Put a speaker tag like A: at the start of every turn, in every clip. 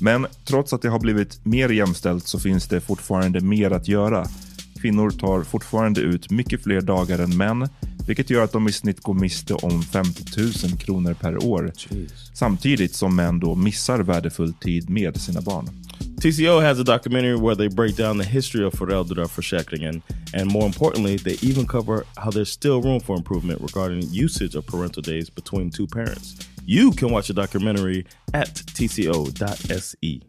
A: Men trots att det har blivit mer jämställt så finns det fortfarande mer att göra. Kvinnor tar fortfarande ut mycket fler dagar än män, vilket gör att de i snitt går miste om 50 000 kronor per år. Samtidigt som män då missar värdefull tid med sina barn.
B: TCO has a documentary where they break down the history of föräldraförsäkringen and more importantly, they even cover how there's still room for improvement regarding usage of parental days between two parents. You can watch the documentary at tco.se.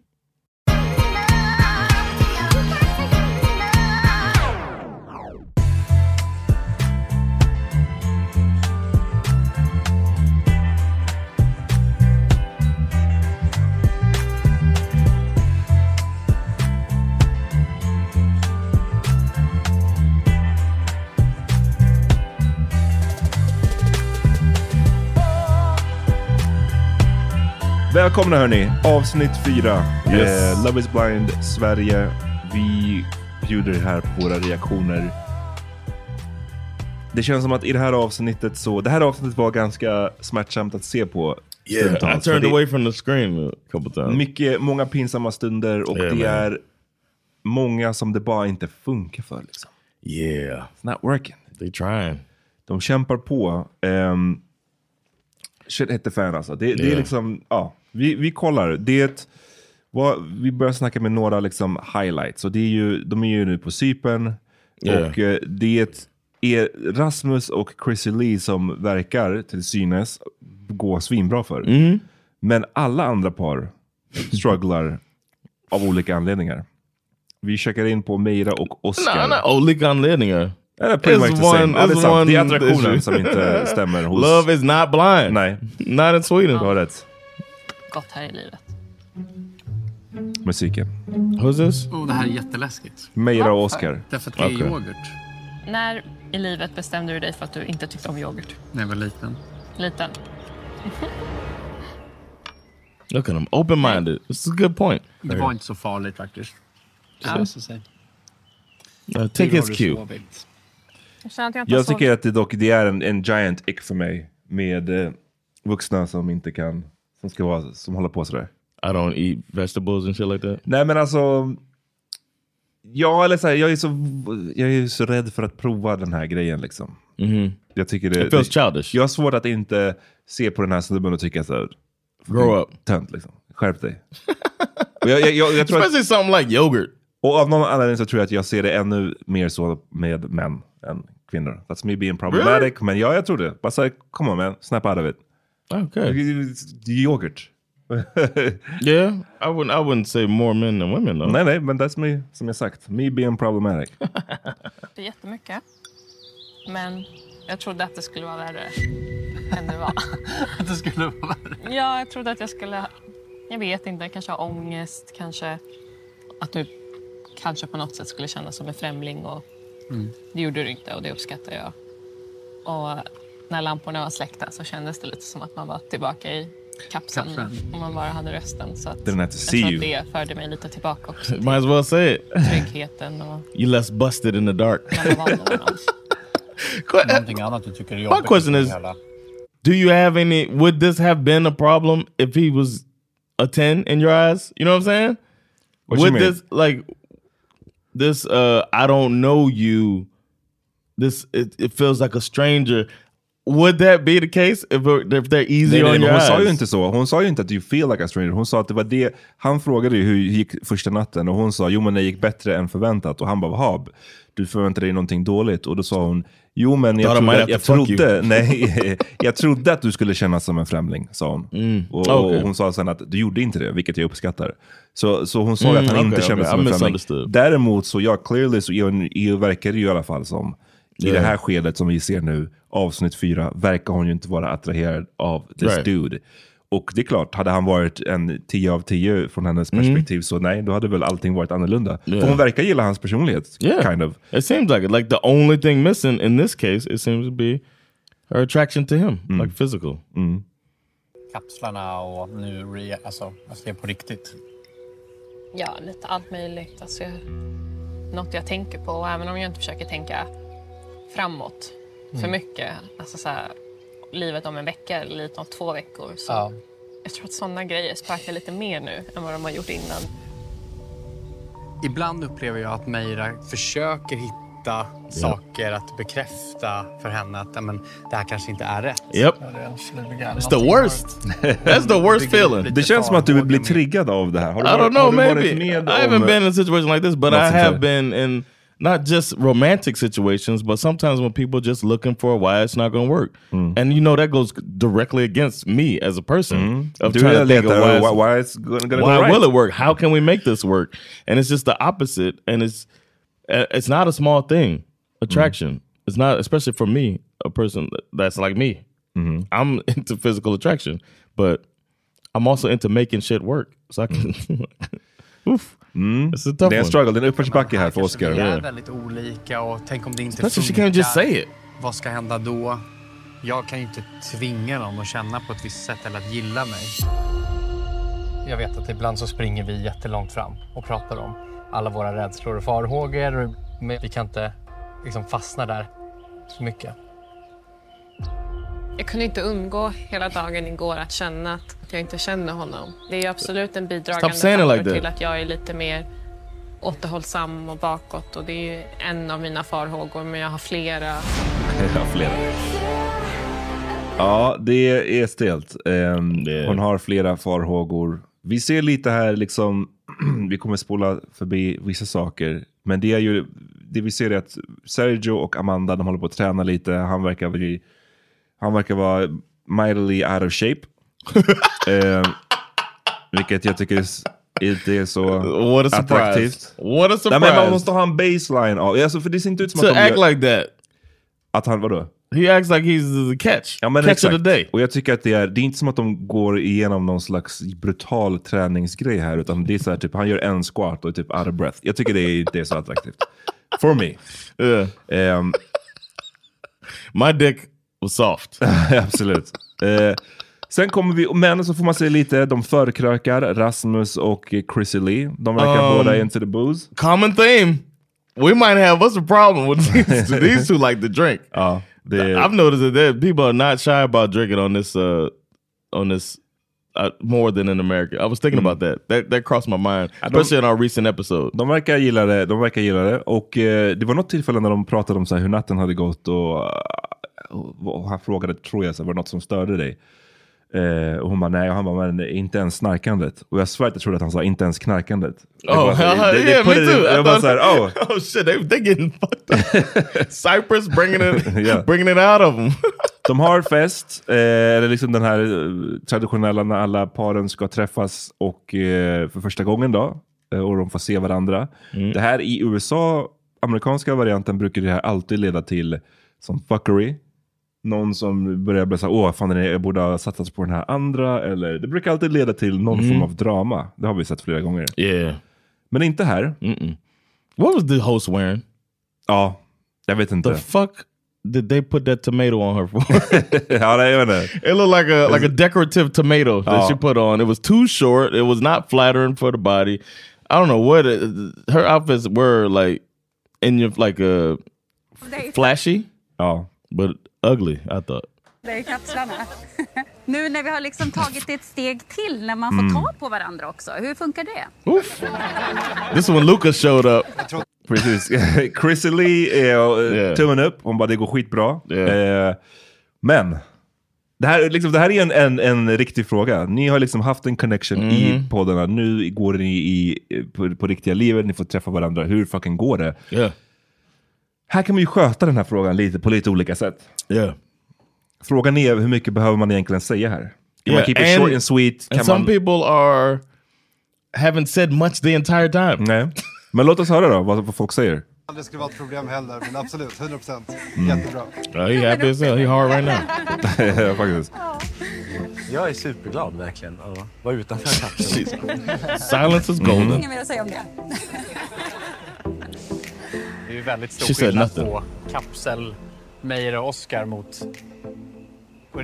A: Välkomna hörni, avsnitt 4.
B: Yes.
A: Eh, Love is blind, Sverige. Vi bjuder här på våra reaktioner. Det känns som att i det här avsnittet så, det här avsnittet var ganska smärtsamt att se på.
B: I
A: stundtals.
B: turned
A: Men det-
B: away from the screen a couple times.
A: Mycket, många pinsamma stunder och
B: Yeah,
A: det
B: man.
A: är många som det bara inte funkar för. Liksom.
B: Yeah,
A: It's not working.
B: they trying.
A: De kämpar på. Um, shit hit the fan alltså. Det, det är
B: Yeah.
A: liksom, ja. Vi, vi kollar. Det, vad, vi börjar snacka med några liksom highlights. Och det är ju, de är ju nu på Cypern.
B: Yeah.
A: Och eh, det är Rasmus och Chrissy Lee som verkar, till synes, gå svinbra för.
B: Mm.
A: Men alla andra par strugglar av olika anledningar. Vi checkar in på Meira och Oscar.
B: No, not olika anledningar.
A: Yeah, Eh, pretty
B: It's
A: much the same.
B: one-
A: Ja, det är
B: it's
A: sant. Det är
B: one issue.
A: attraktionen som inte stämmer hos...
B: Love is not blind.
A: Nej,
B: Not in Sweden.
A: du har rätt.
C: gott här i livet.
A: Musiken.
B: Who's this?
D: Oh, det här är jätteläskigt.
A: Meira och Oscar.
D: Därför att det är
B: Okej.
D: yoghurt
C: När i livet bestämde du dig för att du inte tyckte om yoghurt?
D: när jag var liten.
C: Liten.
B: Look at him, open-minded. This is a good point.
D: Det var inte så farligt faktiskt. Det löser sig.
B: I think
D: Hur
B: it's
D: har du
B: cute.
D: sovit?
C: Jag känner att jag inte
A: Jag tycker att det dock det är en, en giant ick för mig med eh, vuxna som inte kan, som ska vara, som håller på sådär.
B: I don't eat vegetables and shit like that.
A: Nej men alltså, Ja, eller så här, jag är så, jag är ju så rädd för att prova den här grejen liksom.
B: Mhm.
A: Jag tycker det...
B: It feels
A: det-
B: childish.
A: Jag har svårt att inte se på den här snubben och tycka så här...
B: Grow up.
A: Tönt liksom. Skärp dig. och jag, jag, jag, jag tror att,
B: Especially something like yogurt.
A: och av någon anledning så tror jag att jag ser det ännu mer så med män än kvinnor. That's me being problematic. Men ja, jag tror det. Bara såhär, come on man, snap out of it.
B: Okay.
A: It's Yoghurt.
B: Yeah, I wouldn't. I wouldn't say more men than women though.
A: nej, nej, men that's me, som jag sagt. Me being problematic.
C: Det är jättemycket. Men jag trodde att det skulle vara värre än det var.
D: Att det skulle vara värre.
C: Ja, jag trodde att jag skulle... Jag vet inte, kanske ha ångest, kanske... Att du kanske på något sätt skulle kännas som en främling. Och
D: Mm.
C: Det gjorde du inte och det uppskattar jag. Och när lamporna var släckta så kändes det lite som att man var tillbaka i kapseln.
D: Kapseln.
C: Om man bara hade rösten. Så att
A: Didn't have to
C: jag
A: see
C: tror
A: you.
C: att det förde mig lite tillbaka också.
B: Might as well say it.
C: Tryggheten och
B: You less busted in the dark.
C: när man var van vid honom.
D: Någonting annat du tycker är
B: My
D: jobbigt.
B: question is,
D: Hela-
B: do you have any? Would this have been a problem if he was a ten in your eyes? You know what I'm saying?
A: What you
B: Would
A: mean?
B: this like this? uh I don't know you. This it, it feels like a stranger. Would that be the case if if they're easy
A: Nej, nej,
B: on
A: men
B: your
A: hon
B: eyes?
A: sa ju inte så. Hon sa ju inte att you feel like a stranger. Hon sa att det var det. Han frågade ju hur gick första natten och hon sa jo men det gick bättre än förväntat. Och han bara Hab, du förväntade dig någonting dåligt. Och då sa hon jo men jag
B: Thought I
A: trodde,
B: might
A: att,
B: have to
A: jag,
B: fuck you."
A: trodde, nej, jag trodde att du skulle kännas som en främling, sa hon. Och, och
B: Mm. Ah, Okej.
A: hon sa sen att du gjorde inte det, vilket jag uppskattar. Så, så hon sa ju
B: Mm,
A: att han
B: okej,
A: inte kändes
B: okej. I
A: som en främling.
B: misunderstood.
A: Däremot så ja, clearly så är- är- verkar det ju i alla fall som i
B: Yeah.
A: det här skedet som vi ser nu, avsnitt fyra, verkar hon ju inte vara attraherad av this
B: Right.
A: dude. Och det är klart, hade han varit en 10 av 10 från hennes perspektiv så nej, då hade väl allting varit annorlunda. För hon verkar gilla hans personlighet,
B: Yeah,
A: kind of.
B: It seems like it. Like the only thing missing in this case, it seems to be her attraction to him,
A: Mm.
B: like physical.
D: Kapslarna och nu re, alltså, alltså det är på riktigt.
C: Ja, lite allt möjligt. Alltså, jag, något jag tänker på, och även om jag inte försöker tänka framåt
B: Mm.
C: för mycket. Alltså så här, livet om en vecka eller livet om två veckor. Så
D: Ja.
C: Jag tror att sådana grejer sparkar lite mer nu än vad de har gjort innan.
D: Ibland upplever jag att Meira försöker hitta saker att bekräfta för henne att "Ja, men, det här kanske inte är rätt.
B: Yep.
D: It's
B: It's the worst. That's the worst feeling.
A: Det känns som att du blir triggad av det här. Har du
B: I don't
A: varit,
B: know,
A: har du varit
B: maybe.
A: med
B: I
A: om...
B: haven't been in a situation like this, but I
A: Nothing
B: have
A: to-
B: been in not just romantic situations, but sometimes when people just looking for why it's not going to work.
A: Hmm.
B: And you know, that goes directly against me as a person of
A: Du
B: trying to think of why it's-
A: letar, why, why it's gonna, gonna
B: why
A: go right?
B: will it work? How can we make this work? And it's just the opposite. And it's uh, it's not a small thing. Attraction.
A: Mm-hmm.
B: It's not, especially for me, a person that- that's like me.
A: Mm-hmm.
B: I'm into physical attraction, but I'm also into making shit work. So I can. Oof. It's a tough
A: Mm. Det är en
B: one.
A: Mm-hmm. struggle, det är en uppförsbacke här för Oscar.
D: Vi är
B: Yeah.
D: väldigt olika och tänk om det inte
B: Especially if she can't just say it.
D: Vad ska hända då? Jag kan ju inte tvinga någon att känna på ett visst sätt eller att gilla mig. Jag vet att ibland så springer vi jättelångt fram och pratar om alla våra rädslor och farhågor. Men vi kan inte liksom fastna där så mycket.
C: Jag kunde inte undgå hela dagen igår att känna att jag inte känner honom. Det är ju absolut en bidragande
B: Stop saying it
C: faktor
B: like that.
C: till att jag är lite mer återhållsam och bakåt. Och det är ju en av mina farhågor, men jag har flera.
A: Ja, flera. Ja, det är stelt. Ehm,
B: Det är-
A: Hon har flera farhågor. Vi ser lite här, liksom, vi kommer spola förbi vissa saker. Men det, är ju, det vi ser är att Sergio och Amanda, de håller på att träna lite. Han verkar, bli, han verkar vara mightily out of shape. Ehm, vilket jag tycker s- inte är så
B: What a surprise.
A: attraktivt.
B: What a
A: Nej, men man
B: surprise.
A: måste ha en baseline av, alltså, för det ser inte ut som att,
B: to
A: de
B: act
A: gör,
B: like that.
A: att han, vadå?
B: He acts like he's the catch.
A: Ja, men
B: catch
A: exakt.
B: of the day.
A: Och jag tycker att det är, det är inte som att de går igenom någon slags brutal träningsgrej här, utan det är så här, typ, han gör en squat och är typ out of breath. Jag tycker det är inte är så attraktivt. For me.
B: Yeah.
A: Ehm,
B: My dick was soft.
A: absolut. Eh, sen kommer vi, men så får man se lite, de förkrökar, Rasmus och eh, Chrissy Lee. De verkar
B: Um,
A: båda into the booze.
B: common theme. We might have us a problem with these, these two like to drink.
A: Ja, det,
B: I've noticed that there- people are not shy about drinking on this uh on this uh, more than in America. I was thinking about that. that. That crossed my mind,
A: de-
B: especially in our recent episode.
A: De verkar gilla det. De verkar gilla det. Och eh, det var något tillfälle när de pratade om så här, hur natten hade gått och, eh, och, och han frågade, tror jag, så här, var det något som störde dig? Eh, och hon bara nej, och han bara men inte ens snarkandet. Och jag svär att jag trodde att han sa inte ens knarkandet. Jag bara, så här,
B: Oh, hell
A: det- det
B: yeah, me
A: put it in-
B: too. I
A: Jag bara
B: thought-
A: såhär, oh.
B: oh shit, they, they getting fucked up. Cyprus bringing it,
A: Yeah.
B: bringing it out of them.
A: De har fest, eh, eller liksom den här eh, traditionella när alla paren ska träffas och eh, för första gången då. eh, Och de får se varandra.
B: Mm.
A: Det här i USA, amerikanska varianten, brukar det här alltid leda till som fuckery. Någon som börjar bli såhär, åh fan den är- jag borde ha satsat på den här andra. Eller, det brukar alltid leda till någon form av drama. Det har vi sett flera gånger.
B: Mm. yeah.
A: Men inte här.
B: Mm-mm. What was the host wearing?
A: Ja, jag vet
B: The
A: inte.
B: fuck did they put that tomato on her for?
A: ja, nej, jag vet inte.
B: it looked like a like a decorative tomato that
A: Oh.
B: she put on. It was too short. It was not flattering for the body. I don't know what it, her outfits were like in your like a flashy
A: Ja.
B: but ugly. I thought.
E: i kapslarna. nu när vi har liksom tagit ett steg till när man får ta på varandra också. Hur funkar det?
B: Oof. this is when Lucas showed up.
A: Precis. Chrissy Lee är eh,
B: Yeah.
A: tummen upp. Hon bara, det går skitbra.
B: Yeah.
A: Eh, men, det här, är liksom, det här är en, en, en riktig fråga. Ni har liksom haft en connection
B: Mm-hmm.
A: i poddarna. Nu går ni i, på, på riktiga livet, ni får träffa varandra. Hur fucking går det?
B: Yeah.
A: Här kan man ju sköta den här frågan lite, på lite olika sätt.
B: Yeah.
A: Frågan är, hur mycket behöver man egentligen säga här? Kan man
B: Yeah,
A: keep it
B: and-
A: short and sweet?
B: And
A: Kan
B: some
A: man...
B: people are haven't said much the entire time.
A: Nej. Men låt oss höra då, vad, vad folk säger.
F: aldrig skulle vara ett problem heller, men absolut, 100 procent. Jättebra.
B: Oh, he happy as hell. He hard right now.
A: Faktiskt.
D: Jag är superglad verkligen att vara utanför kapseln.
B: Silence is golden.
G: Mm.
H: Mm.
E: Inget mer att säga om det.
D: Det är ju väldigt stor
B: She said
D: skillnad
B: nothing.
D: på kapsel, Meyer och Oscar mot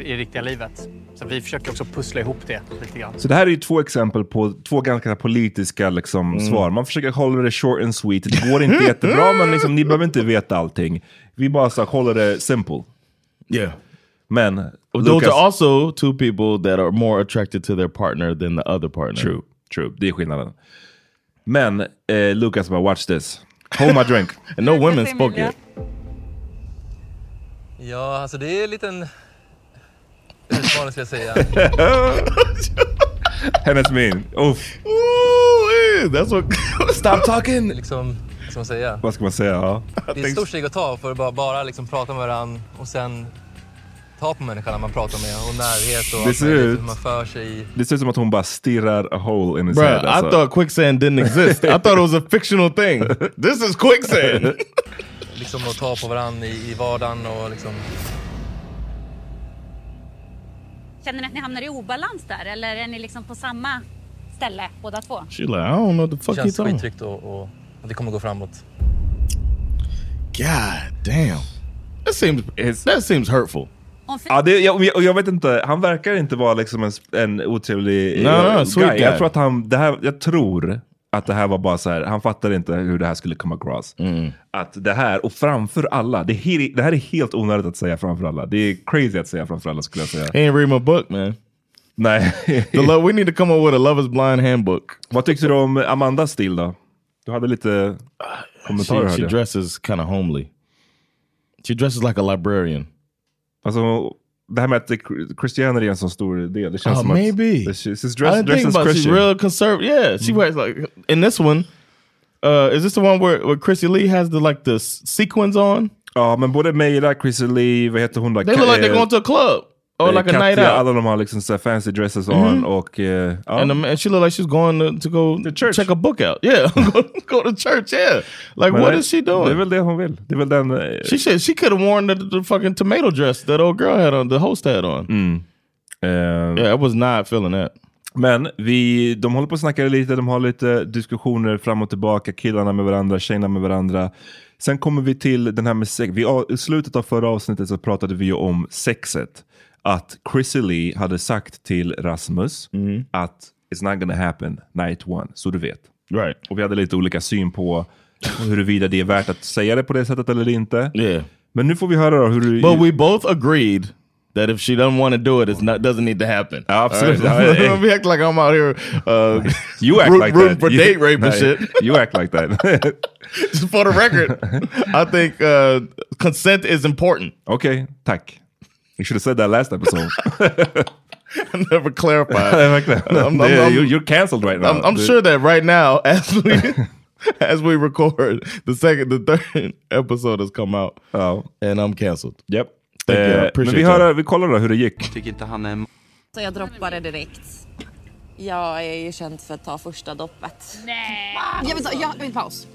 D: i riktiga livet. Så vi försöker också pussla ihop det lite grann.
A: Så det här är ju två exempel på två ganska politiska liksom,
B: Mm.
A: svar. Man försöker hålla det short and sweet. Det går inte jättebra, men liksom, ni behöver inte veta allting. Vi bara så, här, håller det simple.
B: Yeah.
A: Men
B: Those
A: Lucas-
B: are also two people that are more attracted to their partner than the other partner.
A: True, true. Det är skillnaden. Men eh, Lucas bara, watch this. Hold my drink.
B: And no women spoke yet.
F: Ja, alltså det är en liten utmaning skulle jag säga.
A: Hennes min. Uff.
B: Ooh, eh, that's what.
A: Stop talking!
F: Liksom, vad ska man säga?
A: Vad ska man säga? Ja.
F: Det är ett stort steg att ta för att bara, bara liksom prata med varandra och sen ta på människan man pratar med och närhet och
A: Det
F: allt
A: ser
F: möjligt,
A: ut.
F: hur man för sig.
A: Det ser ut som att hon bara stirrar a hole in his
B: Bruh,
A: head.
B: I
A: alltså.
B: thought quicksand didn't exist. I thought it was a fictional thing. This is quicksand.
F: Liksom att ta på varandra i, i vardagen och liksom...
E: Känner ni att ni hamnar i obalans där eller är ni liksom på samma ställe båda två?
B: She like, I don't know what the
F: Det
B: fuck you
F: känns
B: talking. about.
F: skittryggt och, och, och det kommer gå framåt.
B: God damn. That seems that seems hurtful.
E: Om fy-
A: Ja, det, jag, jag- jag vet inte, han verkar inte vara liksom en, sp- en otrevlig
B: No,
A: eh,
B: no, sweet guy.
A: Jag tror att han, det här, jag tror att det här var bara så här, han fattade inte hur det här skulle komma across.
B: Mm.
A: Att det här, och framför alla, det, he, det här är helt onödigt att säga framför alla. Det är crazy att säga framför alla skulle jag säga.
B: He ain't read my book, man.
A: Nej.
B: The lo- we need to come up with a lovers blind handbook.
A: Vad tyckte du om Amandas stil då? Du hade lite kommentarer
B: She, she
A: hörde jag.
B: dresses kind of homely. She dresses like a librarian.
A: Alltså, det här med att det- Christianity är en så stor del. Det känns
B: Oh,
A: som
B: maybe.
A: att... She's
B: I
A: dressed,
B: didn't think
A: dressed as
B: about. She's
A: Christian. Mm-hmm.
B: real conservative. Yeah, she wears like in this one. Uh, is this the one where where Chrissy Lee has the like the s- sequins on?
A: Ja, men både Meira, Chrissy Lee, vad heter hon? då?
B: They look like
A: Eh,
B: they're going to a club or Oh, like a
A: Katja,
B: night out, Mm-hmm.
A: Alla de har liksom så här fancy dresses on och... eh, ja.
B: and, the, man- she looked like she's going to, to go
A: church.
B: check a book out. Yeah, go, go to church. Yeah, like
A: Men
B: what
A: det-
B: is she
A: Det är
B: doing?
A: väl det hon vill. Det är väl den... eh,
B: She should, she could have worn the, the fucking tomato dress that old girl had on, the host had on.
A: Mm. eh,
B: Yeah, I was not feeling that.
A: Men vi, de håller på att snacka lite, de har lite diskussioner fram och tillbaka, killarna med varandra, tjejerna med varandra. Sen kommer vi till den här med sex. Vi, av- I slutet av förra avsnittet så pratade vi ju om sexet. Att Chrissy Lee hade sagt till Rasmus
B: Mm.
A: att it's not gonna happen night one, så du vet.
B: Right.
A: Och vi hade lite olika syn på huruvida det är värt att säga det på det sättet eller inte.
B: Yeah.
A: Men nu får vi höra då hur du...
B: But we both agreed that if she doesn't want to do it, it's not doesn't need to happen.
A: Absolutely.
B: All right? Don't be act like I'm out here. Uh,
A: You act
B: root-
A: like
B: rooting
A: that.
B: for
A: You-
B: date rape and
A: no,
B: shit.
A: You act like that.
B: Just for the record, I think uh, consent is important.
A: okay, tack. You should have said that last episode.
B: I never clarified. I'm- I'm-
A: Yeah,
B: I'm-
A: you're, you're canceled right now.
B: I'm, I'm
A: The-
B: sure that right now, as we as we record, the second, the third episode has come out,
A: Ja.
B: and I'm canceled.
A: Japp.
B: Thank you, I
A: Eh, men
B: appreciate
A: vi,
B: that.
A: hör, vi kollar då hur det gick.
H: Tycker inte han är...
G: Så jag droppade direkt. Jag är ju känd för att ta första doppet.
I: Nej! Jag vill ta jag vill paus.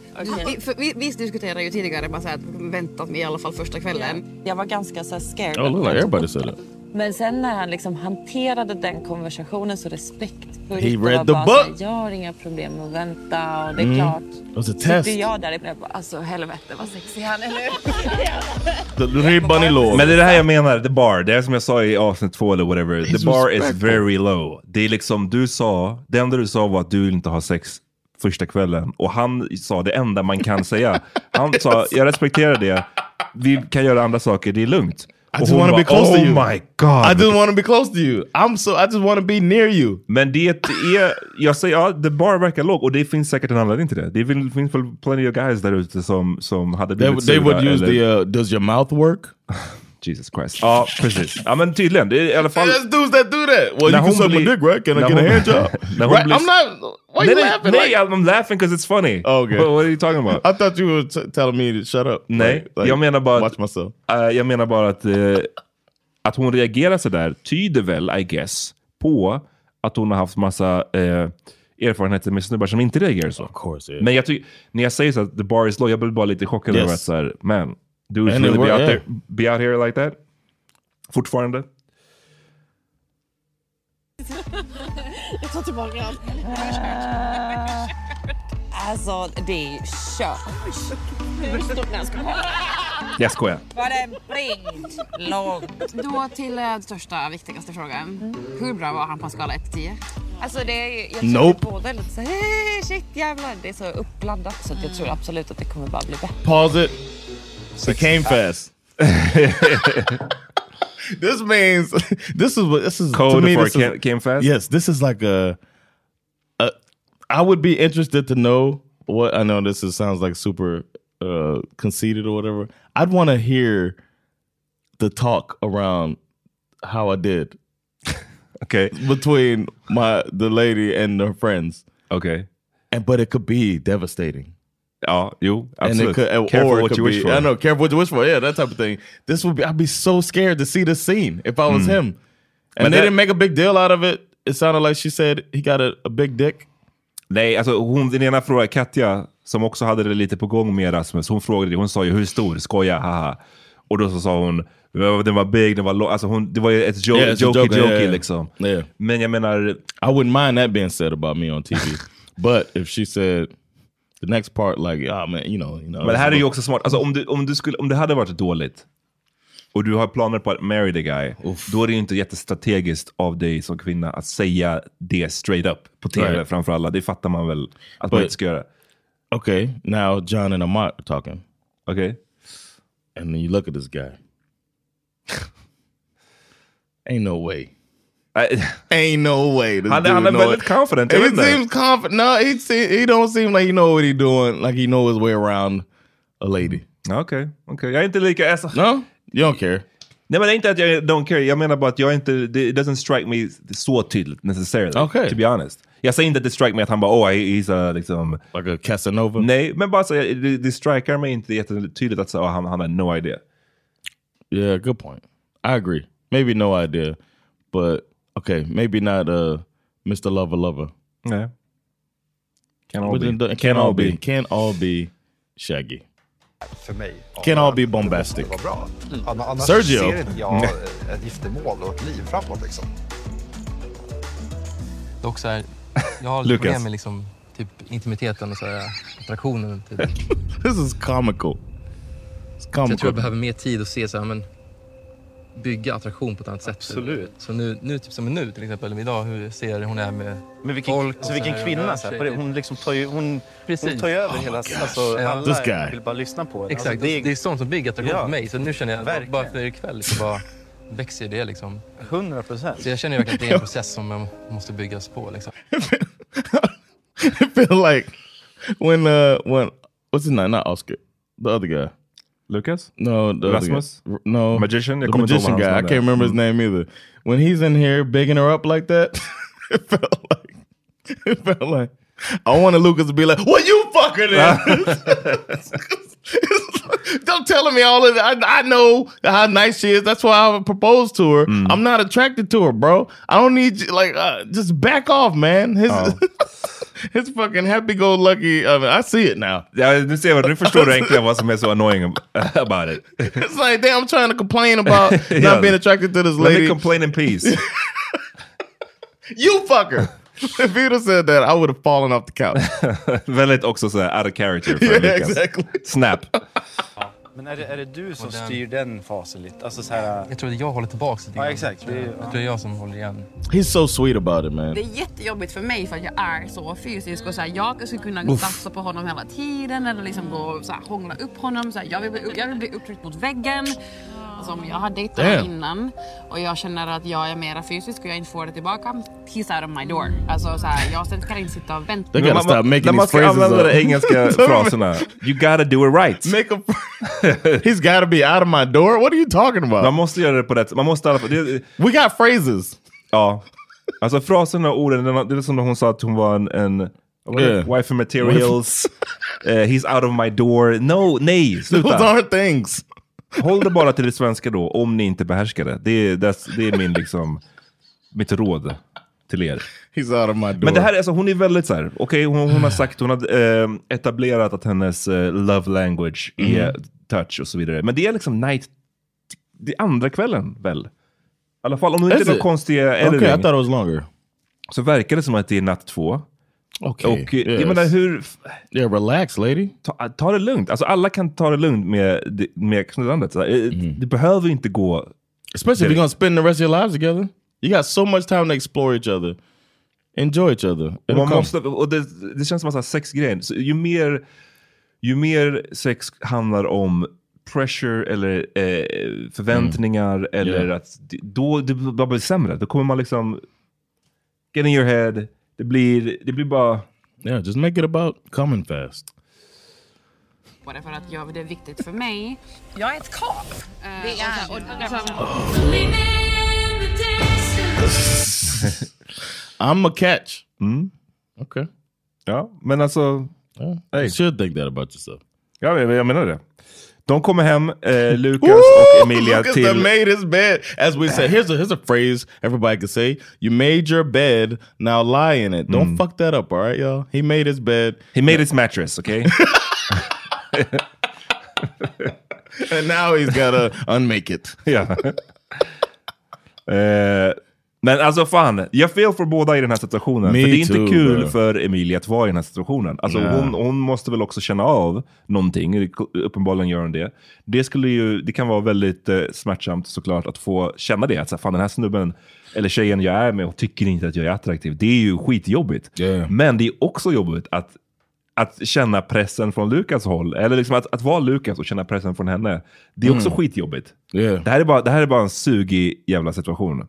I: Vi, för vi, vi diskuterade ju tidigare bara så här, att vänta i alla fall första kvällen.
G: Jag var ganska så här scared.
B: Oh, look like everybody said that.
G: Men sen när han liksom hanterade den konversationen så respektfullt.
B: He
G: och var
B: read the
G: bara så här,
B: book.
G: Jag har inga problem med att vänta och det är
B: Mm.
G: klart.
B: It was a
G: Sitter
B: test.
G: jag där och jag bara, alltså helvete vad sexig han är nu.
B: Ribban är låg.
A: Men det är det här jag menar, the bar. Det är som jag sa i avsnitt två eller whatever. The
B: It's
A: bar is
B: respectful.
A: very low. Det är liksom, du sa, det enda du sa var att du vill inte ha sex första kvällen. Och han sa det enda man kan säga. Han sa, jag respekterar det. Vi kan göra andra saker, det är lugnt.
B: I
A: Och
B: just
A: hon
B: want to be
A: bara,
B: close
A: oh
B: to you.
A: my god.
B: I just want to be close to you. I'm so. I just want to be near you.
A: Men det är, jag säger, ja, the bar verkar låg och det finns säkert en anledning till det. Det finns finns väl plenty of guys där ute som, som
B: They,
A: hade blivit
B: they would
A: sura
B: use
A: eller-
B: the uh, does your mouth work?
A: Jesus Christ. Ja, precis. Ja, men tydligen. Det är i alla fall...
B: There's dudes that do that. Well, you
A: När
B: can
A: hon
B: suck my
A: blir-
B: dick, right? Can I
A: när
B: get a
A: hon-
B: hand job?
A: när hon
B: right?
A: blir-
B: I'm not. Why
A: nej,
B: you
A: nej,
B: laughing?
A: Nej,
B: like?
A: I'm laughing because it's funny.
B: Oh, Okay.
A: What, what are you talking about?
B: I thought you were t- telling me to shut up.
A: Nej,
B: Like- like,
A: jag menar bara...
B: watch myself.
A: Eh, jag menar bara att, eh, att hon reagerar så där tyder väl, I guess, på att hon har haft massa eh, erfarenheter med snubbar som inte reagerar så. Of
B: course,
A: Men jag ty- när jag säger så att the bar is low, jag blir bara lite chockad
B: Yes.
A: över att så här, man, dudes
B: And it
A: really be
B: wor-
A: out,
B: yeah.
A: there, be out here like that? Fortfarande?
I: Jag tar tillbaka allt.
G: Alltså det är kört. Hur stort när jag ska ha?
A: Jag skojar.
G: Var den bringd? Långt.
I: Då till eh, största, viktigaste frågan. Hur bra var han på en skala 1 till 10?
G: Alltså det är, jag
B: känner Nope.
G: båda är lite så shit jävlar. Det är så uppblandat så jag tror absolut att det kommer bara bli bättre.
B: Pause it. It came fast. this means this is what this is to
A: Code
B: me,
A: for
B: this
A: it came,
B: is,
A: came fast?
B: Yes, this is like a, a. I would be interested to know what I know. This is, sounds like super uh, conceited or whatever. I'd want to hear the talk around how I did.
A: okay,
B: between my the lady and her friends.
A: Okay,
B: and but it could be devastating.
A: Ja, jo,
B: And it
A: absolut.
B: could, or
A: Careful
B: it
A: what
B: could
A: you
B: be,
A: wish for.
B: I know, careful what you wish for. Yeah, that type of thing. This would be. I'd be so scared to see this scene if I was
A: Mm.
B: him. And
A: But
B: they
A: that-
B: didn't make a big deal out of it. It sounded like she said he got a, a big dick.
A: Nej, alltså hon, den ena frågade Katja, som också hade det lite på gång med Rasmus. Hon frågade det. Hon sa ju hur stor? Skoja, haha. Och då så sa hon, den var big, den var lång. Alltså hon, det var ju ett jo
B: Yeah, it's a
A: jokey
B: joke,
A: jokey
B: yeah, yeah.
A: liksom.
B: Yeah.
A: Men jag menar...
B: I wouldn't mind that being said about me on TV. but if she said the next part, like, ah man, you know, you know.
A: Men det här är ju också smart. Alltså om, du, om, du skulle, om det hade varit dåligt och du har planer på att marry the guy, då är det ju inte jättestrategiskt av dig som kvinna att säga det straight up på TV
B: Right.
A: framför alla. Det fattar man väl att man
B: But-
A: inte ska göra.
B: Okay, now John and Amat are talking.
A: Okay.
B: And then you look at this guy. Ain't no way. Ain't no way. this
A: Han,
B: dude
A: han är
B: know
A: väldigt
B: it.
A: confident. jag
B: He
A: vet inte.
B: seems confident. No, he se he don't seem like he know what he doing. Like he know his way around a lady.
A: Okay, okay. Jag är inte lika... Alltså,
B: no? You don't care?
A: Nej men det är inte att jag don't care, jag menar bara att jag är inte, det- it doesn't strike me så tydligt necessarily.
B: Okay.
A: To be honest. Jag säger inte att det strike me att han bara oh he- he's a liksom...
B: Like a Casanova?
A: Nej, men bara så, jag- det, det strikar mig inte jättetydligt att så, oh, han, han har no idea.
B: Yeah, good point. I agree. Maybe no idea, but okay, maybe not uh, Mr. Lover Lover.
A: Yeah. Can all
B: But
A: be.
B: it do- Can,
A: Can
B: all
A: all
B: be.
A: be.
B: Can all be Shaggy.
J: för mig.
B: Can all be bombastic. Mm.
J: Det var bra.
F: Mm.
J: Anna- Annars
B: Sergio.
J: ser inte jag
B: Mm.
J: eh, ett giftermål och ett liv framåt. Liksom.
F: Dock så här, jag har
B: Lukas.
F: lite problem med liksom, typ intimiteten och så här, attraktionen. Typ. Så
B: This is comical. It's
F: jag tror
B: comical.
F: jag behöver mer tid att se så här, men bygga attraktion på ett annat sätt. Absolut. Så nu, nu typ som nu till exempel, idag, hur jag ser hon är med
K: Men vilken,
F: folk. och
K: så vilken
F: här,
K: kvinna.
F: och
K: Så här, på det,
F: tjejer.
K: hon, liksom tar ju, hon, hon
F: Precis.
K: tar ju över
F: Oh my
K: hela...
F: gosh.
K: Alltså,
F: Ja.
K: alla
F: This guy.
K: vill bara lyssna på henne.
F: Exakt,
K: Alltså,
F: det är sånt som bygger attraktion
K: Ja.
F: för mig. Så nu känner jag, bara för ikväll, så bara, växer ju det liksom.
H: 100 procent.
F: Så jag känner ju verkligen att det är en process som man måste byggas på. Liksom.
B: I feel like when uh when what's his name? Not Oscar, the other guy.
A: Lucas?
B: No, the other
A: Rasmus?
B: guy. R- No,
A: Magician? Jag
B: The
A: kommer inte ihåg
B: magician
A: vad
B: guy.
A: hans
B: I
A: namn
B: can't
A: är. Mm.
B: remember his name either. When he's in here bigging her up like that, it felt like it felt like I wanted Lucas to be like, "What you fucker then?" Don't telling me all of that. I, I know how nice she is. That's why I proposed to her.
A: Mm.
B: I'm not attracted to her, bro. I don't need you. Like, uh, just back off, man. His
A: Oh.
B: his fucking happy-go-lucky. I, mean, I see it now.
A: Ja, nu, ser jag, nu förstår du äntligen vad som är så annoying about it.
B: It's like, damn, I'm trying to complain about
A: Yeah.
B: not being attracted to this
A: Let me
B: lady.
A: complain in peace.
B: you fucker. if you'd have said that, I would have fallen off the couch.
A: Väldigt också så här out of character för
B: Yeah,
A: Lucas.
B: exactly.
A: Snap.
H: Men är det, är det du som
F: Och den-
H: styr den fasen lite? Alltså så här,
F: Jag tror att jag håller tillbaka lite
H: Ja,
F: grann,
H: exakt.
F: tror jag.
H: Det är-
F: jag tror det är jag som håller igen.
B: He's so sweet about it, man.
I: Det är jättejobbigt för mig för att jag är så fysisk och så här, jag skulle kunna
B: Uff.
I: tafsa på honom hela tiden eller liksom gå och så här, hångla upp honom. Så här, jag, vill bli, jag vill bli upptryckt mot väggen. Alltså, om jag har dejtat honom
G: Damn.
I: innan och jag känner att jag är mera fysisk och jag inte får det tillbaka, he's out of my door. Alltså, så här, jag kan inte sitta och vänta.
B: They gotta
A: Man-
B: stop making
A: när man
B: these
A: ska
B: phrases
A: använda
B: up.
A: de engelska fraserna, you gotta do it right.
B: Make a, he's gotta be out of my door. What are you talking about?
A: Man måste göra det på rätt Man måste i alla fall... Det,
B: We got phrases.
A: ja. Alltså fraserna och orden, det var- det är som när hon sa att hon var en... en vad var det?
B: Yeah.
A: Wife of materials. eh, he's out of my door. No, nej, sluta.
B: Those are things.
A: Håll det bara till det svenska då, om ni inte behärskar det. Det är, that's- det är min, liksom, mitt råd till er.
B: He's out of my door.
A: Men det här, är- alltså, hon är väldigt så här, okej hon,
B: Mm.
A: hon har sagt, hon har eh, etablerat att hennes eh, love language är
B: Mhm.
A: touch och så vidare. Men det är liksom night, det är andra kvällen väl? I alla fall om det
B: Is
A: inte är någon
B: it?
A: konstig eh,
B: Okay, I
A: editing.
B: thought it was longer.
A: Så verkar det som att det är natt två.
B: Okej,
A: Och eh,
B: yes.
A: jag menar hur...
B: Yeah, relax lady.
A: Ta, ta det lugnt. Alltså alla kan ta det lugnt med, med knullandet. Så här, eh, Det behöver inte gå...
B: Mm. Especially if you're gonna spend the rest of your lives together. You got so much time to explore each other. Enjoy each other.
A: Och
B: It'll
A: man
B: come.
A: måste, och det, det känns som en sån här sexgrej. Så ju, mer, ju mer sex handlar om pressure eller eh, förväntningar
B: Mm.
A: eller
B: Ja.
A: att det- då det bara blir sämre. Då kommer man liksom get in your head. Det blir, det blir bara...
B: Yeah, just make it about coming fast.
I: på det för att jag, det är viktigt för mig. Jag är ett kap. Det är... Och,
B: Oh. I'm a catch.
A: Mm.
B: Okay.
A: Ja, men alltså...
B: You should think that about yourself.
A: Ja, men jag menar det. De kommer hem, eh, Lukas och Emilia
B: Lucas
A: till...
B: done made his bed. As we say, here's a here's a phrase everybody could say. You made your bed, now lie in it. Don't fuck that up, all right, y'all? He made his bed.
A: Hmm. He made his mattress, okay?
B: and now he's gotta unmake it.
A: Yeah. Eh, men alltså fan, jag feel för båda i den här situationen.
B: Me
A: för det är inte
B: too,
A: kul
B: bro.
A: för Emilia att vara i den här situationen. Alltså
B: Nej.
A: hon, hon måste väl också känna av någonting. Uppenbarligen gör hon det. Det, skulle ju, det kan vara väldigt eh, smärtsamt såklart att få känna det. Att så här, fan den här snubben, eller tjejen jag är med, hon tycker inte att jag är attraktiv. Det är ju skitjobbigt. Men det är också jobbigt att att känna pressen från Lukas håll, eller liksom att, att vara Lukas och känna pressen från henne, det är också
B: Mm.
A: skitjobbigt. Det, här är bara, det här är bara en sugig jävla situation.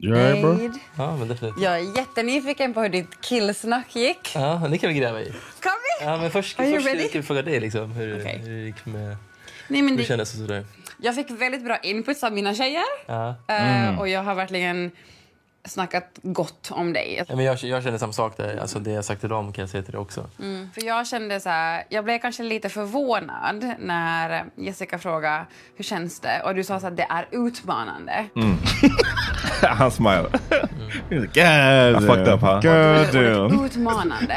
B: You
G: alright, bro? Babe.
F: Ja, men definitivt.
G: Jag är jättenyfiken på hur ditt killsnack gick.
F: Ja, men det kan vi gräva i.
G: Kan vi?
F: Ja, men först,
G: Are you
F: först ska
G: ready?
F: vi fråga dig liksom, hur,
G: Okej.
F: hur det gick med...
G: Nej, men
F: hur
G: det-
F: kändes det sådär?
G: Jag fick väldigt bra input av mina tjejer.
F: Ja.
G: Eh,
B: Mm.
F: Mm.
G: Och jag har verkligen snackat gott om dig.
F: Ja, men jag, jag känner samma sak där. Alltså, det jag sagt till dem kan jag säga till dig också.
G: Mm. För jag kände så här, jag blev kanske lite förvånad när Jessica frågade hur känns det? Och du sa så här, det är utmanande.
A: Mm. Han smile.
B: God damn.
A: I fucked up, huh?
B: God damn.
G: Utmanande.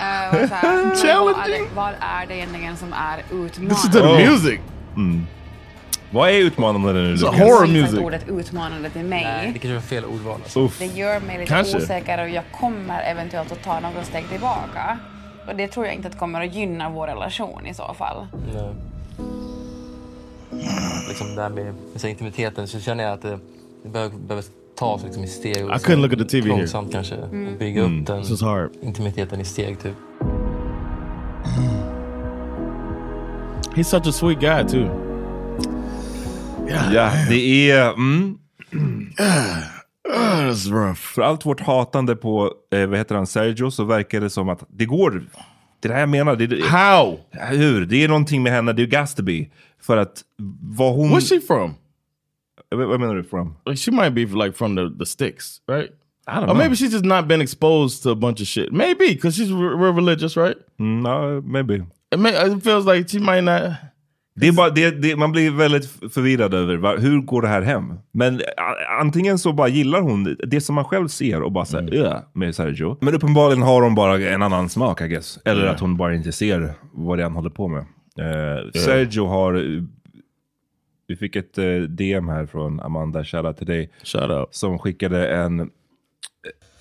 G: Eh, och så här, vad, är det, vad är det egentligen som är utmanande?
A: music! Mm. Vad är utmanande nu Lukas?
G: Du har inte sagt ordet utmanande till mig.
F: Det kanske var fel ordval.
A: Uff.
G: Det gör mig lite
A: Kanske.
G: osäker och jag kommer eventuellt att ta några steg tillbaka. Och det tror jag inte att kommer att gynna vår relation i så fall.
F: Nej. Liksom det här med, med så intimiteten så känner jag att det, det behöver, behöver tas liksom i steg. och
B: I
F: så
B: couldn't look at the TV here.
F: Långsamt kanske.
G: Mm.
F: Och bygga
B: Mm.
F: upp den
B: This is hard.
F: intimiteten i steg typ.
B: He's such a sweet guy too.
A: Ja, det är... Mm.
B: Ah, that's rough.
A: För allt vårt hatande på, eh, vad heter han, Sergio, så verkar det som att det går... Det är det här jag menar. Det,
B: How?
A: Hur? Det är någonting med henne, det är Gatsby. För att vad hon... Eh,
B: Where's she from?
A: Vad menar du from?
B: Like she might be like from the, the sticks, right?
A: I don't
B: or
A: know.
B: maybe she's just not been exposed to a bunch of shit. Maybe because she's re- re- religious, right?
A: No, Mm, maybe.
B: It, may, it feels like she might not.
A: Det är bara, det, det, man blir väldigt förvirrad över var, hur går det här hem? Men a- antingen så bara gillar hon det- det som man själv ser och bara
B: Mm.
A: såhär "Ugh", med Sergio. Men uppenbarligen har hon bara en annan smak I guess. Eller
B: Ja.
A: att hon bara inte ser vad det är han håller på med. Eh, Sergio har... eh, Vi fick ett eh, DM här från Amanda, shoutout till dig. Som skickade en, eh,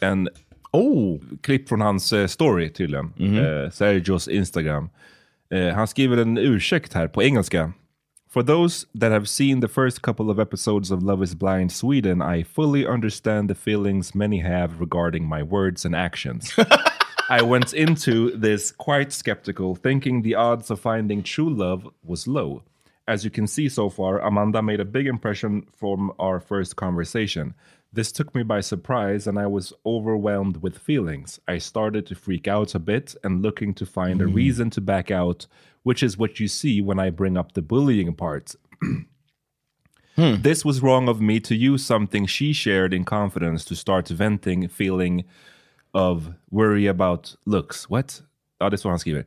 A: en
B: oh. Mm-hmm.
A: klipp från hans eh, story tydligen. Eh, Sergios Instagram. Eh, han skriver en ursäkt här på engelska. For those that have seen the first couple of episodes of Love is blind Sweden I fully understand the feelings many have regarding my words and actions. I went into this quite skeptical, thinking the odds of finding true love was low. As you can see so far, Amanda made a big impression from our first conversation. This took me by surprise and I was overwhelmed with feelings. I started to freak out a bit and looking to find a
B: Mm.
A: reason to back out, which is what you see when I bring up the bullying part. This was wrong of me to use something she shared in confidence to start venting feeling of worry about looks. What? Oh, Ja, det är så han skriver.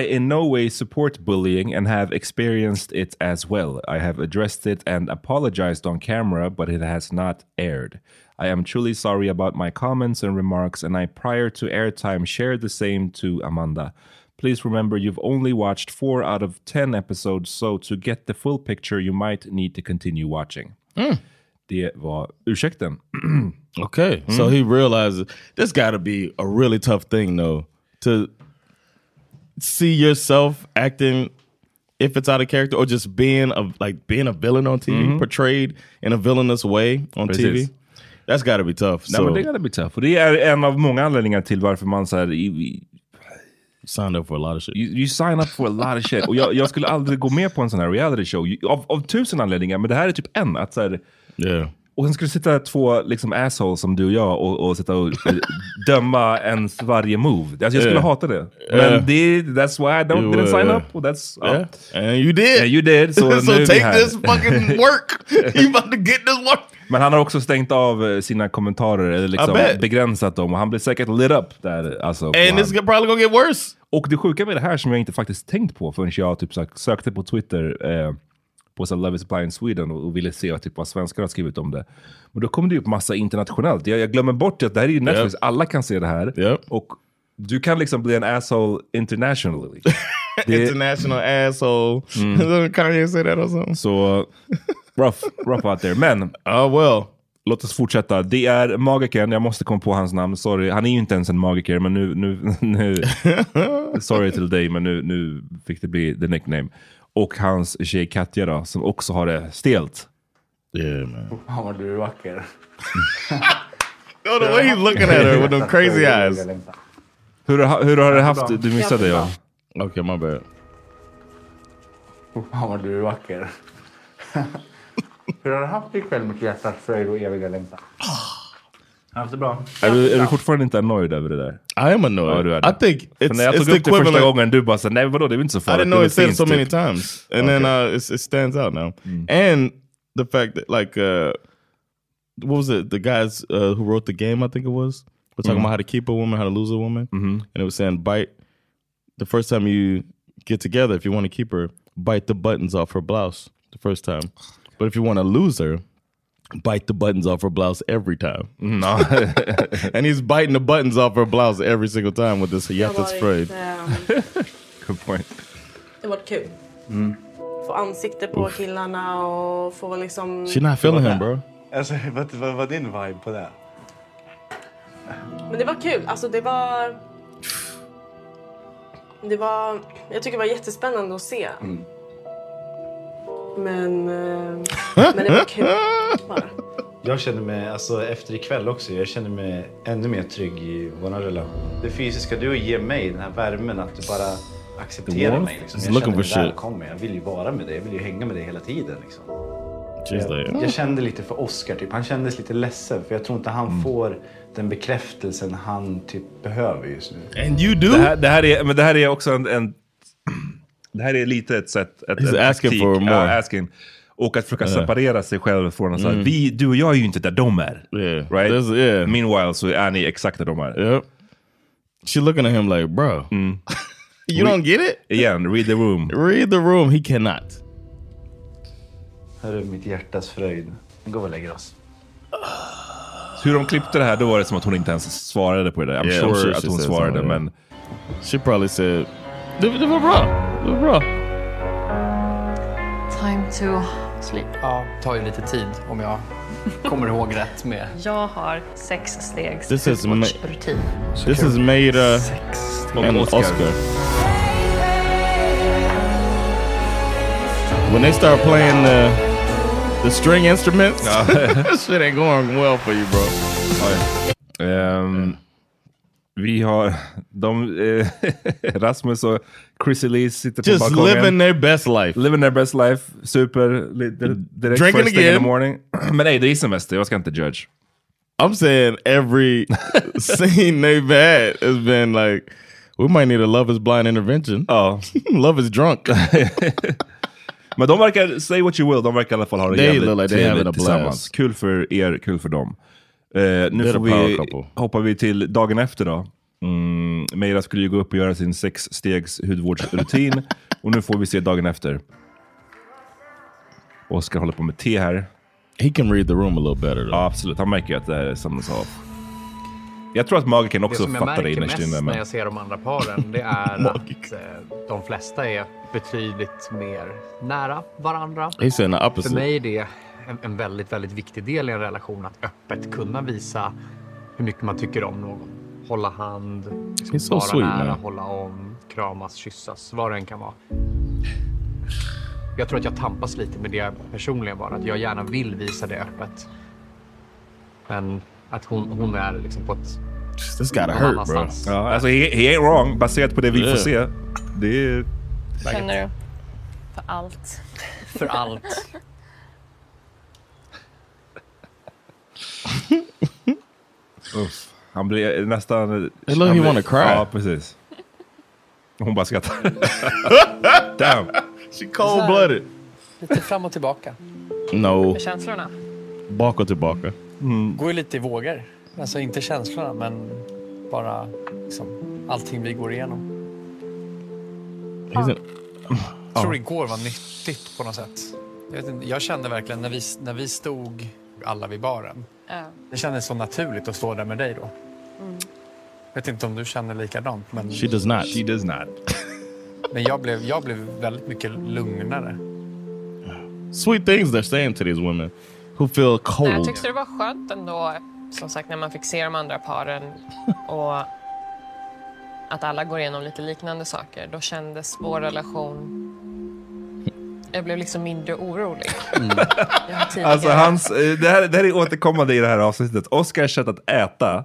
A: I in no way support bullying and have experienced it as well. I have addressed it and apologized on camera, but it has not aired. I am truly sorry about my comments and remarks, and I prior to airtime shared the same to Amanda. Please remember you've only watched four out of ten episodes, so to get the full picture, you might need to continue watching. Det var ursäkten.
B: Okay, so he realizes this got to be a really tough thing though to see yourself acting if it's out of character or just being a like being a villain on TV
A: Mhm.
B: portrayed in a villainous way on
A: Precis.
B: TV. That's got to be tough.
A: Nej, men det gotta be tough. Och det är en av många anledningar till varför man så här...
B: Signed up for a lot of shit.
A: You, you sign up for a lot of shit. Och jag, jag skulle aldrig gå med på en sån här reality show. Ju- Av, av tusen anledningar, men det här är typ en. Att så här, Och sen skulle sitta två liksom, assholes som du och jag och, och sitta och eh, döma ens varje move. Alltså, jag skulle
B: Yeah.
A: hata det. Men
B: Yeah.
A: det, that's why I don't,
B: You,
A: didn't sign
B: uh,
A: up. Och that's, ja.
B: Yeah. And you did.
A: Yeah, you did. So,
B: So
A: nu är vi
B: take
A: här.
B: this fucking work. you about to get this work.
A: Men han har också stängt av eh, sina kommentarer, eller liksom
B: bet.
A: begränsat dem. Och han blir säkert lit up där. Alltså, på
B: And
A: han.
B: it's probably gonna get worse.
A: Och det sjuka med det här som jag inte faktiskt tänkt på förrän jag typ sök- sökte på Twitter eh, på så här Love is blind Sweden och, och ville se typ, vad svenskar har skrivit om det. Men då kom det ju upp massa internationellt. Jag, jag glömmer bort att det här är ju Netflix, alla kan se det här. Och du kan liksom bli en asshole internationally.
B: International asshole. Kanye say that or something?
A: Mm. Så rough, rough out there. Men
B: well.
A: låt oss fortsätta. Det är magikern, jag måste komma på hans namn, sorry. Han är ju inte ens en magiker, men nu... nu, nu sorry till dig, men nu, nu fick det bli the nickname. Och hans tjej Katja då, som också har det stelt.
B: Yeah, man.
K: Fan vad du är vacker.
B: No, the way he's looking at her with them crazy eyes.
A: Hur, har- hur har det haft Du missade jag.
B: Okay, my bad.
K: Fan vad du är vacker. Hur har du haft det ikväll mitt hjärtas fröjd och eviga längtan?
F: Ah.
K: Jag har haft det bra.
A: Är du, är du fortfarande inte annoyed över det där?
B: I am annoyed.
A: Ja, du är det.
B: I think
A: För
B: it's-
A: när jag
B: it's
A: tog
B: the
A: upp det första
B: equivalent-
A: gången, du bara så, nej vadå, det är väl inte så farligt.
B: I didn't
A: det
B: know
A: är
B: it said
A: fint",
B: so many
A: typ.
B: times, and then uh, it's, it stands out now.
A: Mm.
B: And the fact that, like, uh, what was it? The guys uh, who wrote the game, I think it was, were talking
A: Mhm.
B: about how to keep a woman, how to lose a woman,
A: Mhm.
B: and it was saying bite the first time you get together. If you want to keep her, bite the buttons off her blouse the first time, but if you want to lose her. Bite the buttons off her blouse every time.
A: Mm-hmm. No.
B: and he's biting the buttons off her blouse every single time with this
L: Det har
B: Yatas
L: varit,
B: phrase.
L: ehm,
A: Good point.
L: Det har varit kul.
B: Mm.
L: Få ansikte på killarna och få liksom...
B: She not feeling him, bro.
H: Alltså, vad, vad var din vibe på det?
L: Men det var kul. Alltså det var... Det var... Jag tycker det var jättespännande att se.
H: Mm.
L: Men... eh, Men det var kul. Bara.
H: Jag känner mig, alltså efter ikväll också, jag känner mig ännu mer trygg i vår relation. Det fysiska, du ger mig den här värmen att du bara accepterar
B: wolf
H: mig. Liksom.
B: is
H: Jag
B: looking
H: känner mig
B: for shit.
H: välkommen. Jag vill ju vara med dig. Jag vill ju hänga med dig hela tiden. Liksom.
B: She's
H: Jag,
B: like,
H: jag kände lite för Oscar. Typ. Han kändes lite ledsen för jag tror inte
B: Mm.
H: han får den bekräftelsen han typ behöver just nu.
B: And you do?
A: Det här, det här, är, men det här är också en... en det här är lite ett sätt... Ett,
B: He's
A: en
B: asking
A: taktik.
B: for more.
A: Ja, asking. Och att försöka
B: Ja.
A: separera sig själv från att säga,
B: Mm.
A: vi, du och jag är ju inte där de är. Right?
B: This- yeah.
A: Meanwhile så är ni exakt där de är.
B: Yep. She looking at him like, bro. You don't get it?
A: Again, Mm. read the room.
B: Read the room. He cannot.
H: Här är mitt hjärtas fröjd. Nu går vi och lägger oss.
A: Hur de klippte det här, då var det som att hon inte ens svarade på det. där. I'm
B: Yeah, I'm
A: sure,
B: sure
A: att
B: she
A: hon
B: said
A: svarade,
B: something, yeah.
A: men...
B: She probably said... Det, det var bra. Det var bra.
C: Time to sleep.
D: Ja, det tar ju lite tid om jag kommer ihåg rätt med...
C: Jag har sex stegs
B: This is, ma-
C: hudvårdsrutin.
B: this is Meira and
C: Oscar.
B: Oscar. When they start playing the, the string instruments, this shit ain't going well for you, bro.
A: Ehm, vi har... De, eh, Rasmus och Chrissy Lee sitter på
B: Just
A: balkongen.
B: living their best life.
A: Living their best life. Super. li- Direkt
B: Drinking
A: first thing in
B: again.
A: the morning. Men nej, det är semester. Jag ska inte judge.
B: I'm saying every scene they've had has been like, we might need a love is blind intervention.
A: Oh,
B: love is drunk.
A: Men de verkar, say what you will, de verkar i alla fall ha det
B: They
A: jävligt
B: look like they're
A: trevligt
B: having a blast.
A: tillsammans. Kul för er, kul för dem. Eh, nu
B: They're
A: får
B: a power
A: vi,
B: couple.
A: hoppar vi till dagen efter då. Mm, Meira skulle ju gå upp och göra sin sexstegs hudvårdsrutin och nu får vi se dagen efter. Oskar håller på med te här.
B: He can read the room a little better.
A: Ja, absolut. Han märker ju att det här är something's off. Jag tror att magikern
D: Det
A: också
D: som jag
A: fattar det
D: märker
A: innerst
D: mest
A: inne.
D: när
A: Men...
D: jag ser de andra paren, det är att eh, de flesta är betydligt mer nära varandra.
B: He's saying the opposite.
D: För mig är det en, en väldigt, väldigt viktig del i en relation att öppet kunna visa hur mycket man tycker om någon. Hålla hand, liksom
B: He's so
D: vara
B: sweet,
D: nära,
B: man.
D: hålla om, kramas, kyssas, vad det än kan vara. Jag tror att jag tampas lite med det personligen bara, att jag gärna vill visa det öppet. Men att hon, hon är liksom på ett...
B: This gotta
D: någon
B: hurt, bro.
D: annanstans.
A: Ja, alltså, he, he ain't wrong, baserat på det vi
B: Yeah.
A: får se. Det är...
C: Känner du? För allt.
D: För allt.
A: Uff. Han blir nästan...
B: It look
A: han
B: he
A: blir-
B: wanna cry.
A: Ja, precis. Hon bara skrattar. Damn.
B: She cold-blooded.
M: Lite fram och tillbaka.
B: No.
M: Med känslorna?
B: Baka tillbaka.
A: Hmm.
M: Går ju lite i vågor. Alltså inte känslorna, men bara liksom, allting vi går igenom.
B: He's Oh, in,
M: Jag tror igår var nyttigt på något sätt. Jag, vet inte, jag kände verkligen när vi, när vi stod alla vid baren.
C: Ja.
M: Det kändes så naturligt att stå där med dig då. Mm. vet inte om du känner likadant, men...
B: She does not.
A: She does not.
M: Men jag blev, jag blev väldigt mycket lugnare.
B: sweet things they're saying to these women who feel
C: Nej, jag
B: cold.
C: tyckte det var skönt ändå, som sagt, när man fick se de andra paren och att alla går igenom lite liknande saker. Då kändes vår relation... Jag blev liksom mindre orolig. Jag har tidigare-
A: Alltså hans, eh, det, här, det här är återkommande i det här avsnittet. Oskars sätt att äta.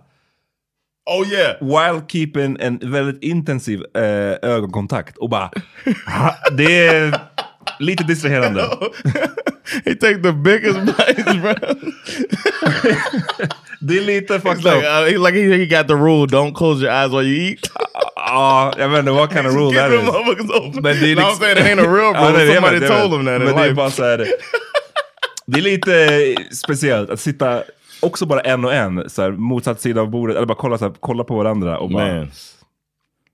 B: Oh yeah!
A: While keeping en väldigt intensiv eh, ögonkontakt. Och bara... ha, det är lite distraherande.
B: He take the biggest bites, bro.
A: Delete the fuck
B: he's like, uh, he, like he, he got the rule: don't close your eyes while you eat.
A: Ja, jag vet inte Uh, what kind of rule
B: Keep
A: that
B: them
A: is.
B: motherfuckers open.
A: Men det är
B: No, I'm
A: liksom-
B: saying it ain't a real
A: Ja,
B: rule.
A: nej, det är
B: Somebody
A: väl- det är
B: told
A: väl-
B: him that. in
A: Men det är
B: life.
A: bara så här, det är lite eh, speciellt att sitta också bara en och en, så här, motsatt sida av bordet, eller bara kolla, så här, kolla på varandra och bara...
B: Man.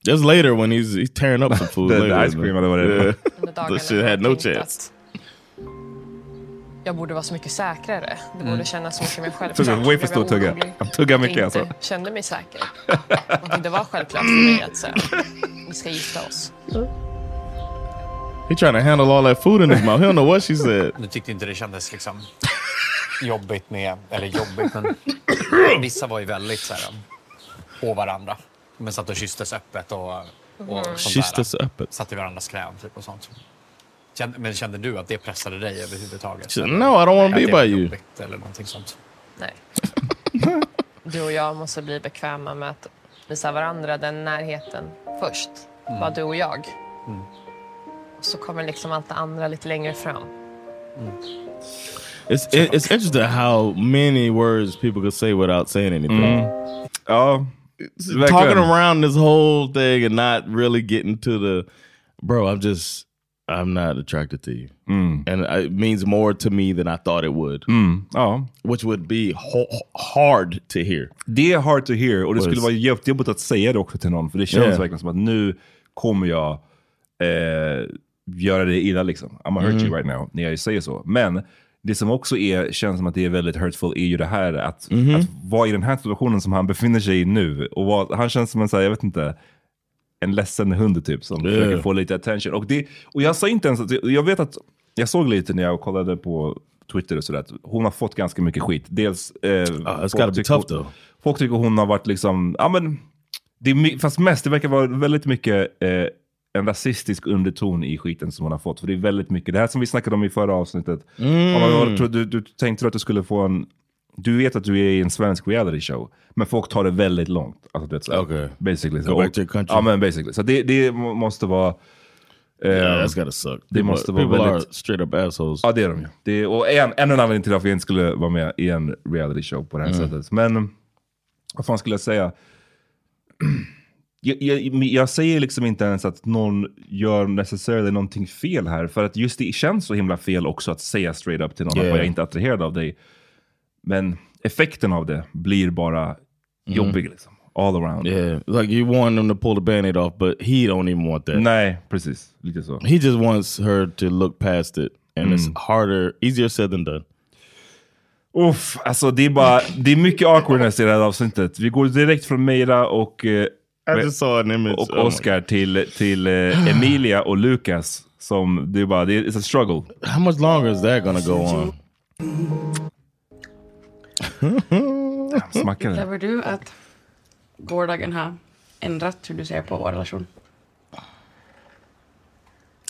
B: Just later when he's, he's tearing up some food.
A: The- the
B: later,
A: ice cream
B: man.
A: or whatever.
C: Under
B: Yeah.
C: dagarna
B: This shit had no chance.
C: Jag borde vara så mycket säkrare. Det borde kännas så mycket mer självklart.
A: Tugga, way Mm. för stor
C: Jag blev
A: tugga.
C: orolig.
A: Han tuggar mycket, alltså.
C: Att jag inte kände mig säker. Och det var självklart för mig att så här, vi ska gifta oss.
B: He trying to handle all that food in his mouth. He don't know what she said.
D: Du tyckte inte det kändes liksom jobbigt med, eller jobbigt, men vissa var ju väldigt så här um, på varandra. Men satt och kysstes öppet och, och
B: Mm.
D: sånt
B: Kysstes
D: där.
B: öppet.
D: Satt i varandras kräm typ och sånt. Kände, men kände du att det pressade dig överhuvudtaget?
B: She said, no, I don't want
D: Att
B: to be
D: det var
B: by you.
D: jobbigt Eller någonting sånt.
C: Nej. Du och jag måste
A: Mm.
C: bli bekväma med att visa varandra den närheten först. Bara du och jag. Och så kommer liksom allt det andra lite längre fram.
B: It's it, it's interesting how many words people could say without saying anything.
A: Mm. Ja, verkligen.
B: Talking around this whole thing and not really getting to the bro. I'm just I'm not attracted to you, and I- it means more to me than I thought it would.
A: Mm. Ja.
B: Which would be ho- hard to hear.
A: Det är hard to hear och det
B: Was-
A: skulle vara jättejobbigt att säga det också till någon. För det känns
B: Yeah.
A: verkligen som att nu kommer jag eh, göra dig illa liksom. I'm gonna hurt
B: Mm.
A: you right now när jag säger så. Men det som också är, känns som att det är väldigt hurtful är ju det här att,
B: Mhm.
A: att vara i den här situationen som han befinner sig i nu. Och vad, han känns som en, så här, jag vet inte, en ledsen hund typ som
B: Yeah.
A: försöker få lite attention. Och, det, och jag sa inte ens att, jag vet att, jag såg lite när jag kollade på Twitter och sådär, att hon har fått ganska mycket skit. Dels... Eh, folk
B: gotta be
A: tycker-
B: tough, though.
A: Folk tycker hon har varit liksom, ja men, det är, my- fast mest, det verkar vara väldigt mycket eh, en rasistisk underton i skiten som hon har fått. För det är väldigt mycket, det här som vi snackade om i förra avsnittet.
B: Mm.
A: Om man- tror Du, du tänkte att du skulle få en, du vet att du är i en svensk reality show, men folk tar det väldigt långt. Alltså, du vet, såhär, Basically.
B: Go back to your country.
A: Ja men basically. Så det, det må- måste vara... eh,
B: Yeah, that's gotta suck.
A: Det
B: People-
A: måste vara
B: people are
A: väldigt...
B: straight up assholes.
A: Ja, det är de ju. Det är, och en, en anledning till varför jag inte skulle vara med i en reality show på det här
B: Mm.
A: sättet. Men vad fan skulle jag säga? Jag, jag, men jag säger liksom inte ens att någon gör necessarily någonting fel här. För att just det känns så himla fel också att säga straight up till någon
B: Yeah.
A: att jag är inte attraherad av dig. Men effekten av det blir bara jobbig. Liksom. All around.
B: Yeah, like you want him to pull the band-aid off, but he don't even want that.
A: Nej, precis. Lite så.
B: He just wants her to look past it. And it's
A: Mm.
B: harder, easier said than done.
A: Uff, alltså det är bara, det är mycket awkwardness i det här avsnittet. Vi går direkt från Meira och, eh,
B: just saw an image. Oh
A: och
B: my-
A: Oscar till, till eh, Emilia och Lucas. Som, det är bara, det är, it's a struggle.
B: How much longer is that gonna go on?
A: Smackade.
G: Mm. Upplever du att gårdagen har ändrat hur du ser på vår relation?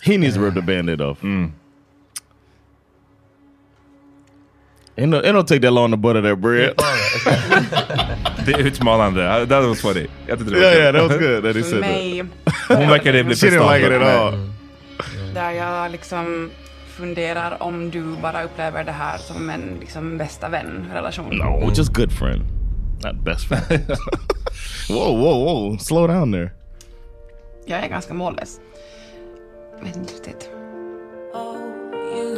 B: He needs to rip the band-aid off.
A: Mm.
B: It, don't, it don't take that long to butter that bread.
A: Det är utmanande. That was funny. Jag tyckte det var
B: Yeah,
A: kul.
B: yeah, that was good that he
G: För mig,
A: Hon verkade bli
B: She didn't like it at all.
G: där jag liksom funderar om du bara upplever det här som en liksom bästa vän-relation.
B: No, just good friend. Not best friend. whoa, whoa, whoa. Slow down there.
G: Jag är ganska mållös. Vet inte riktigt.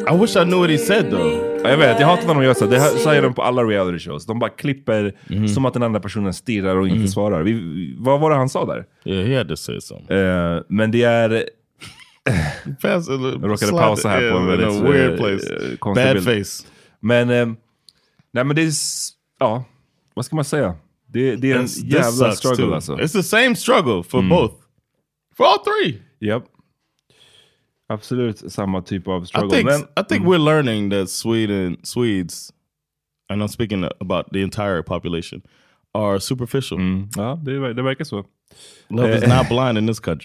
B: I wish I knew what he said though.
A: Ja, jag vet, jag hatar när de gör så. Det här, så här gör de på alla reality shows. De bara klipper
B: Mhm.
A: som att den andra personen stirrar och inte svarar. Vi, vi- vad var det han sa där?
B: Yeah, he had to say something.
A: Eh, men det är... jag råkade
B: slide
A: pausa
B: it
A: här på
B: in in
A: en
B: a
A: väldigt
B: weird
A: eh,
B: place.
A: eh, konstig
B: Bad
A: bild. face. Men, eh, nej men det är... s- Ja, vad ska man säga? Det, det är en
B: This- this
A: jävla
B: sucks,
A: struggle Mm.
B: too.
A: alltså.
B: It's the same struggle for both. For all three.
A: Yep. Absolut samma typ av
B: I
A: struggle.
B: think
A: men,
B: I think
A: Mm.
B: we're learning that Sweden Swedes, and I'm speaking about the entire population, are superficial.
A: Mm. Ja, det, ver- det verkar så.
B: Love is
A: Eh.
B: not blind in this country.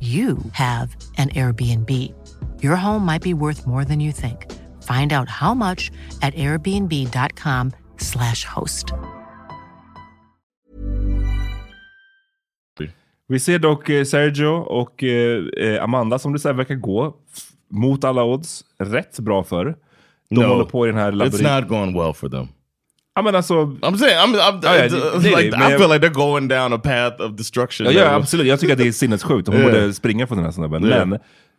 N: you have an Airbnb. Your home might be worth more than you think. Find out how much at airbnb.com/slash host.
A: Vi ser dock eh, Sergio och eh, eh, Amanda som du säger verkar gå f- mot alla odds rätt bra för. De
B: No.
A: håller på i den här
B: It's
A: labyrinten.
B: not going well for them.
A: Ja, men alltså...
B: I'm saying, I'm, I'm,
A: Ja, ja,
B: it's,
A: det-
B: uh,
A: det är
B: like,
A: det, men
B: I
A: jag-
B: feel like they're going down a path of destruction.
A: Ja, ja,
B: now.
A: absolut. Jag tycker att det är sinnessjukt. Hon
B: Yeah.
A: borde springa från den här snubben.
B: Yeah.
A: Men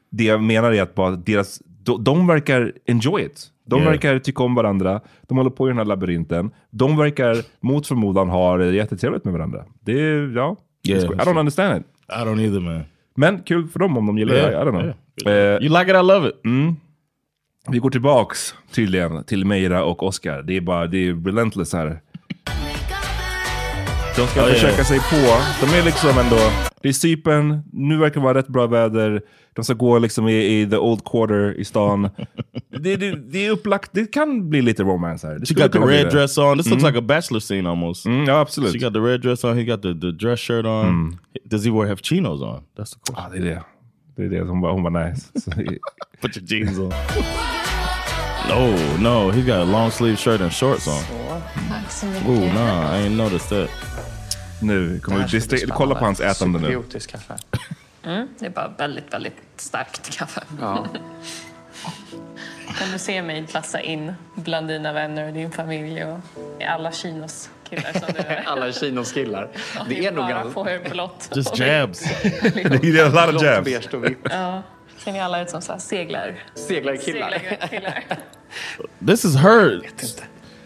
A: det jag menar är att bara deras, de, de verkar enjoy it. De
B: Yeah.
A: verkar tycka om varandra. De håller på i den här labyrinten. De verkar mot förmodan ha det jättetrevligt med varandra. Det är, ja.
B: Yeah,
A: I don't understand it.
B: I don't either man.
A: Men kul för dem om de gillar det. I
B: Yeah,
A: don't know. you
B: like it, I love it.
A: Mm. Vi går tillbaks tydligen till Meira och Oscar. Det är bara, det är relentless här. De ska
B: Ja, ja,
A: försöka
B: ja.
A: sig på. De är liksom ändå... Det är Cypern, nu verkar det vara rätt bra väder. De ska gå liksom i, i the old quarter i stan. det, det, det är upplagt, det kan bli lite romance här. Det
B: She
A: skulle
B: got the
A: kunna bli
B: red
A: det.
B: dress on. This looks
A: Mm.
B: like a bachelor scene almost.
A: Mm, yeah, absolutely.
B: She got the red dress on. He got the, the dress shirt on. Does he wear have chinos on? That's the question.
A: Ah, det är det.
B: er
A: Det är det. Hon bara, hon bara nice.
B: Put your jeans on. No, no. He got a long sleeve shirt and shorts on.
O: Tack så
A: Oh,
B: Ooh, nah. I ain't noticed that.
A: Nu
O: kommer vi- Det här ska bli det- kolla på hans spännande. ätande nu. Superiotiskt
B: kaffe.
C: Mm, det är bara väldigt, väldigt starkt kaffe.
B: Ja.
C: Kan du se mig klassa in bland dina vänner och din familj och i alla Kinos killar som du är?
D: Alla kinos killar.
C: Om
D: Det
C: vi
D: är nog...
C: bara
D: all-
C: får er blått.
B: Just jabs.
A: He did a lot of
D: Blått,
A: jabs.
D: beige och vitt.
C: Ja. Ser ni alla ut som så här seglar?
D: Seglarkillar.
C: Seglarkillar.
B: This is her.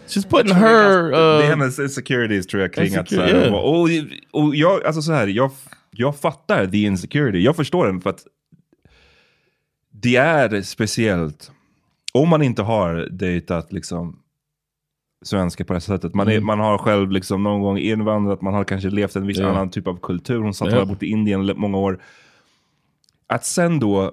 B: She's putting
A: Jag tror det är
B: her...
A: ganska- Det är
B: Uh,
A: hennes insecurities tror jag kring att... Så
B: Insecure-
A: här,
B: yeah.
A: och, och jag, alltså så här, jag, jag fattar the insecurity. Jag förstår den för att det är speciellt om man inte har dejtat liksom svenska på det här sättet. Man, är,
B: Mm.
A: man har själv liksom någon gång invandrat, man har kanske levt en viss
B: Ja.
A: annan typ av kultur. Hon satt
B: Ja.
A: och bott i Indien le- många år. Att sen då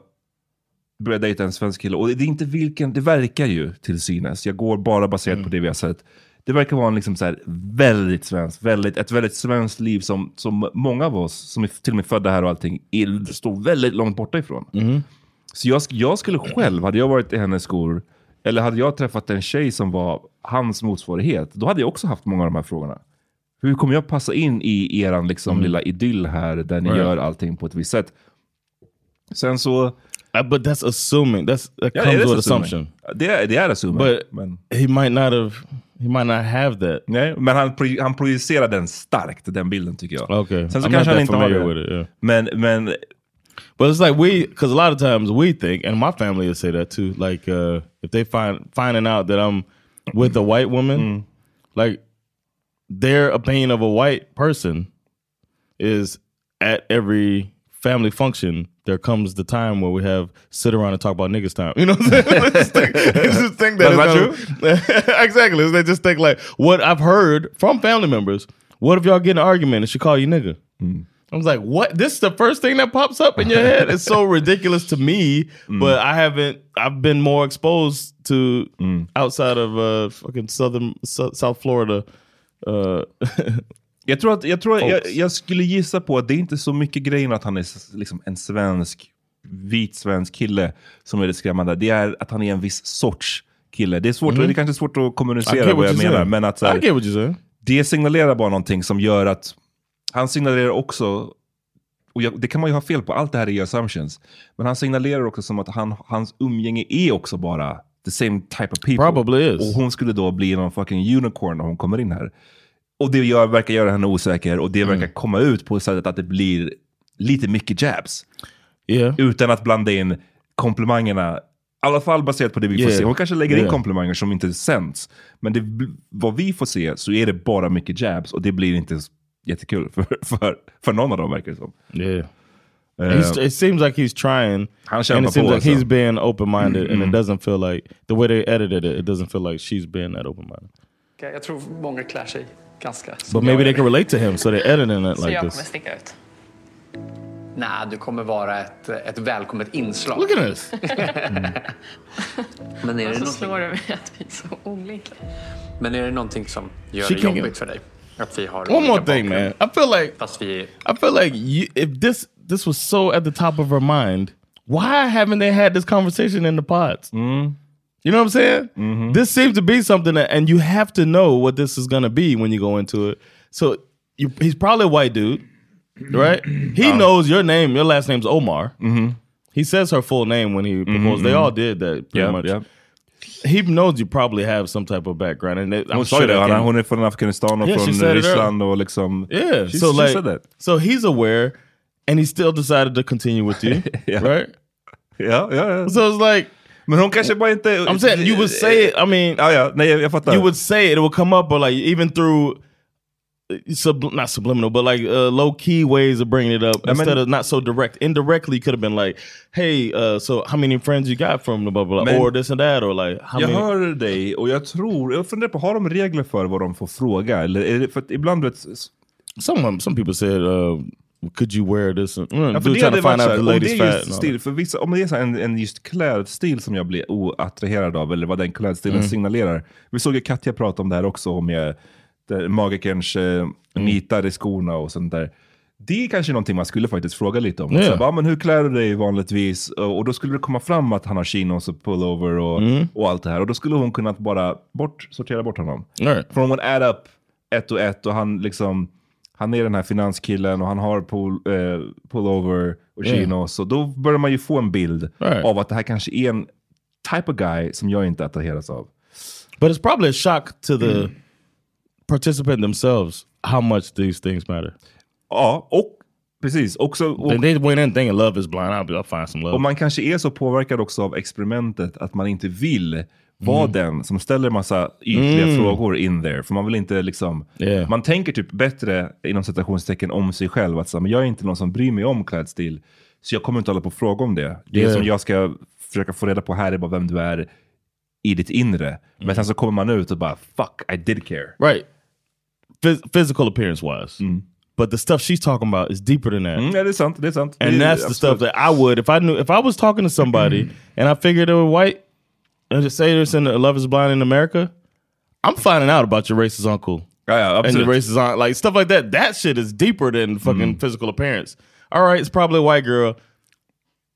A: börja dejta en svensk kille, och det är inte vilken, det verkar ju till synes, jag går bara baserat på det vi har sett. Det verkar vara en liksom så här väldigt svensk, väldigt, ett väldigt svenskt liv som, som många av oss, som är till och med födda här och allting, är, står väldigt långt borta ifrån. Så jag, sk- jag skulle själv, hade jag varit i hennes skor, eller hade jag träffat en tjej som var hans motsvarighet, då hade jag också haft många av de här frågorna. Hur kommer jag passa in i eran liksom lilla idyll här, där ni
B: Right.
A: gör allting på ett visst sätt? Sen så...
B: Uh, but that's assuming. That's, that
A: Ja,
B: comes
A: it is
B: with
A: assuming.
B: assumption.
A: Det är, det är assuming.
B: But
A: men,
B: he might not have... He might not have that.
A: nej, men han, pro- han projicerar den starkt, den bilden tycker jag.
B: Okay.
A: Sen så
B: I'm not
A: kanske han
B: that
A: inte har
B: familiar
A: det.
B: with it. Yeah.
A: Men, men,
B: But it's like we, because a lot of times we think, and my family would say that too. Like uh, if they find finding out that I'm with a white woman, like their opinion of a white person is at every family function. There comes the time where we have sit around and talk about niggas time. You know, what I'm saying? It's just- it's just think that
A: That's
B: it's not- exactly. They just think like what I've heard from family members. What if y'all get in an argument and she call you nigga? I was like, what? This is the first thing that pops up in your head. It's so ridiculous to me, but I haven't. I've been more exposed to outside of uh, fucking southern so, South Florida. Uh,
A: Jag tror, att, jag, tror
B: Folks.
A: jag, jag skulle gissa på att det är inte så mycket grejen att han är s- liksom en svensk, vit svensk kille som är det skrämmande. Det är att han är en viss sorts kille. Det är, svårt,
B: Mm.
A: det är kanske svårt att
B: I
A: kommunicera
B: get
A: vad
B: what
A: jag
B: you're
A: menar.
B: saying.
A: Men att, så här,
B: I get what you're saying.
A: det signalerar bara någonting som gör att... Han signalerar också... Och jag, det kan man ju ha fel på, allt det här är ju assumptions. Men han signalerar också som att han, hans umgänge är också bara the same type of people.
B: Probably is.
A: Och hon skulle då bli någon fucking unicorn när hon kommer in här. Och det gör, verkar göra henne osäker och det
B: Mm.
A: verkar komma ut på sättet att det blir lite mycket jabs. Utan att blanda in komplimangerna. I alla fall baserat på det vi får
B: Yeah.
A: se. Hon kanske lägger in
B: Yeah.
A: komplimanger som inte sänds. Men det, vad vi får se så är det bara mycket jabs och det blir inte s- jättekul för, för, för någon av dem verkar det som. Eh,
B: Yeah. He's, it seems like he's trying,
A: kämpar
B: and it seems
A: på,
B: like he's
A: alltså.
B: being open-minded, and
A: Mm,
B: it
A: mm.
B: doesn't feel like the way they edited it. It doesn't feel like she's being that open-minded.
M: Jag tror många klär sig ganska...
B: But maybe they can relate to him, so they're editing it
M: Så
B: like
M: jag kommer
B: this.
M: sticka ut.
P: Nej, du kommer vara ett, ett välkommet inslag.
B: Look at this!
M: Alltså,
P: Men är,
C: Och
P: det
C: så
P: någonting,
C: slår det mig att vi är så olika.
P: men är det någonting som gör
B: She
P: det
B: can-
P: jobbigt för dig? Att vi har
B: One more
P: olika
B: thing, man.
P: bakgrund?
B: I feel like
P: Fast vi...
B: I feel like you, if this this was so at the top of her mind, why haven't they had this conversation in the pods? You know what I'm saying? This seems to be something that, and you have to know what this is gonna be when you go into it. So you, he's probably a white dude, right? He knows your name. Your last name's Omar. He says her full name when he proposed. They
A: mhm.
B: all did that pretty
A: Yeah,
B: much.
A: yeah.
B: He knows you probably have some type of background, and it, I'm
A: Hon sa
B: sure
A: ju det,
B: they
A: han-
B: can-
A: hon är från Afghanistan och
B: Yeah, she
A: från
B: said it
A: Ryssland och liksom...
B: Yeah.
A: She-
B: so
A: she said
B: like,
A: that.
B: so he's aware, and he still decided to continue with you, right?
A: Ja, ja, ja.
B: So it's like,
A: men hon kanske bara inte...
B: I'm saying you would say it. I mean,
A: ja, ja. Nej, jag, jag fattar.
B: you would say it. It would come up, but like even through. uh, Sub, not subliminal, but like uh, low key ways of bringing it up
A: I mean-
B: instead of not so direct. Indirectly, could have been like, "Hey, uh, so how many friends you got from the blah blah, blah
A: Men-
B: or this and that, or like how
A: jag
B: many?"
A: hör dig och jag tror, jag funderar på, har de regler för vad de får fråga? Eller är det, för att ibland vet...
B: Some some people said, uh, "Could you wear this?" And, mm,
A: Ja, för
B: dude
A: det
B: trying
A: hade
B: to find
A: varit
B: out
A: så här,
B: the
A: om det
B: lady's
A: är
B: fat.
A: just
B: and all
A: stil, för vissa, om det är så här en, en just klädstil som jag blir oattraherad av, eller vad den klädstilen
B: Mm.
A: signalerar. Vi såg ju Katja prata om det här också, om jag, där magikerns eh,
B: Mm.
A: nitar i skorna och sånt där. Det är kanske någonting man skulle faktiskt fråga lite om.
B: Ja.
A: Så här, bara, men hur klär du dig vanligtvis? Och och då skulle det komma fram att han har chinos och pullover och,
B: Mm.
A: och allt det här. Och då skulle hon kunna bara bort, sortera bort honom.
B: Right.
A: Från hon add up ett och ett och han liksom han är den här finanskillen och han har pull, eh, pullover och
B: Yeah.
A: chinos. Så då börjar man ju få en bild
B: Right.
A: av att det här kanske är en type of guy som jag inte attraheras av.
B: But it's probably a shock to the participant themselves how much these things matter.
A: Ja, och precis. Också, och,
B: They, they went in thinking love is blind. I'll, be- I'll find some love.
A: och man kanske är så påverkad också av experimentet att man inte vill vara
B: Mm.
A: den som ställer massa ytliga
B: Mm.
A: frågor in there. För man vill inte liksom... Man tänker typ bättre inom citationstecken om sig själv. Att så, här, men jag är inte någon som bryr mig om klädstil. Så jag kommer inte hålla på och fråga om det. Det
B: Yeah.
A: som jag ska försöka få reda på här är bara vem du är i ditt inre. Men sen så kommer man ut och bara fuck, I did care.
B: Mm. Right. Phys- physical appearance wise. But the stuff she's talking about is deeper than that.
A: Mm, ja, det är sant. Det är sant.
B: And
A: det, är
B: that's the stuff
A: absolut.
B: that I would if I knew if I was talking to somebody
A: Mm-hmm.
B: and I figured they were white and just say this in the Love is Blind in America, I'm finding out about your racist uncle.
A: Oh, Yeah, yeah,
B: and your
A: absolutely. Mm-hmm.
B: racist aunt, like stuff like that. That shit is deeper than fucking physical appearance. All right, it's probably a white girl.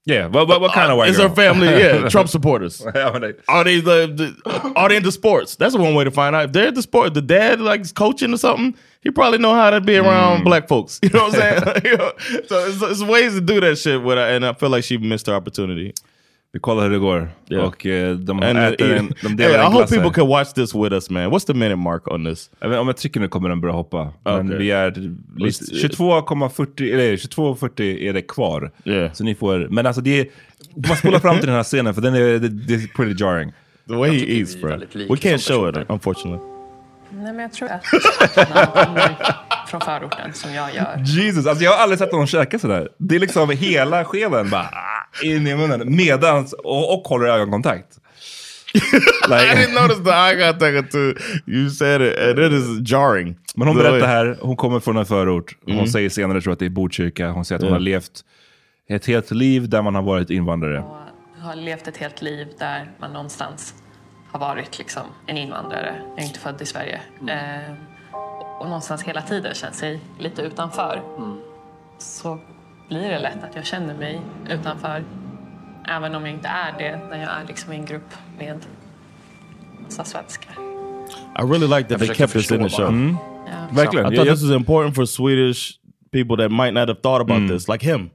A: Yeah, what what, what kind of white
B: Is
A: girl?
B: her family? Yeah, Trump supporters.
A: Ja, men det-
B: Are they the, the are they into sports? That's one way to find out. If they're into sport, the dad likes coaching or something. He probably know how to be
A: Mm.
B: around black folks. You know what I'm saying? You know? so it's, it's ways to do that shit. With and I feel like she missed her opportunity.
A: Vi kollar hur det går. Och eh, de
B: And
A: äter
B: uh,
A: en, de delar
B: hey, I
A: en
B: hope
A: glass
B: people
A: här.
B: can watch this with us, man. What's the minute mark on this?
A: Jag vet- Om jag trycker nu kommer den börja hoppa. Men
B: Okay.
A: vi är lite- 22,40 eller 22,40 är det kvar. Så ni får, men alltså det är, man spolar fram till den här scenen för den är det, det är pretty jarring.
B: The way he eats bro. We can't show it unfortunately.
C: Nej, men jag tror att han kommer från förorten som jag gör.
A: Jesus, alltså jag har aldrig sett någon käka sådär. Det är liksom hela skeden bara ah, in i munnen medans, och, och håller ögonkontakt.
B: I didn't notice the eye contact until you said it, and it is jarring.
A: Men hon
B: The way-
A: berättar här, hon kommer från en förort. Hon
B: Mm.
A: säger senare, tror jag att det är Botkyrka, hon säger att hon
B: Ja.
A: har levt ett helt liv där man har varit invandrare.
C: Jag har levt ett helt liv där man någonstans har varit liksom en invandrare. Jag är inte född i Sverige. Eh, och någonstans hela tiden känt sig lite utanför. Så blir det lätt att jag känner mig utanför. Även om jag inte är det när jag är liksom i en grupp med massa svenskar.
B: I really like that
A: Jag
B: they
A: försöker
B: kept this in the
A: förstå
B: show. Hmm?
A: bara. Mm.
C: Ja.
A: Verkligen.
B: I
A: Jag-
B: thought
A: jag-
B: this was important for Swedish people that might not have thought about this, like him,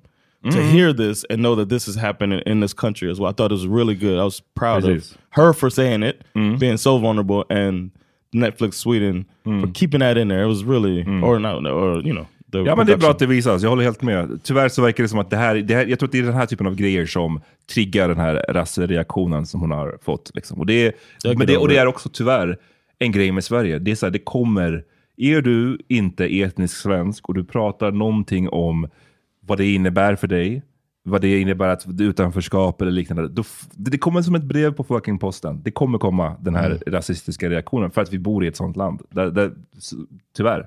B: to hear this and know that this is happening in this country as well. I thought it was really good. I was proud
A: Precis.
B: of her for saying it, being so vulnerable, and Netflix Sweden for keeping that in there. It was really, or not, or you know, the
A: Ja men det är bra
B: production.
A: att det visas, jag håller helt med. Tyvärr så verkar det som att det här, det här jag tror att det är den här typen av grejer som triggar den här rasreaktionen som hon har fått. Liksom. Och, det,
B: Jag
A: men det,
B: kan
A: och det är
B: hålla.
A: också tyvärr en grej med Sverige. Det är så här, det kommer, är du inte etnisk svensk och du pratar någonting om vad det innebär för dig, vad det innebär att utanförskap eller liknande. Då, f- det kommer som ett brev på fucking posten. Det kommer komma den
B: Mm.
A: här rasistiska reaktionen för att vi bor i ett sånt land. Där, där, s- tyvärr.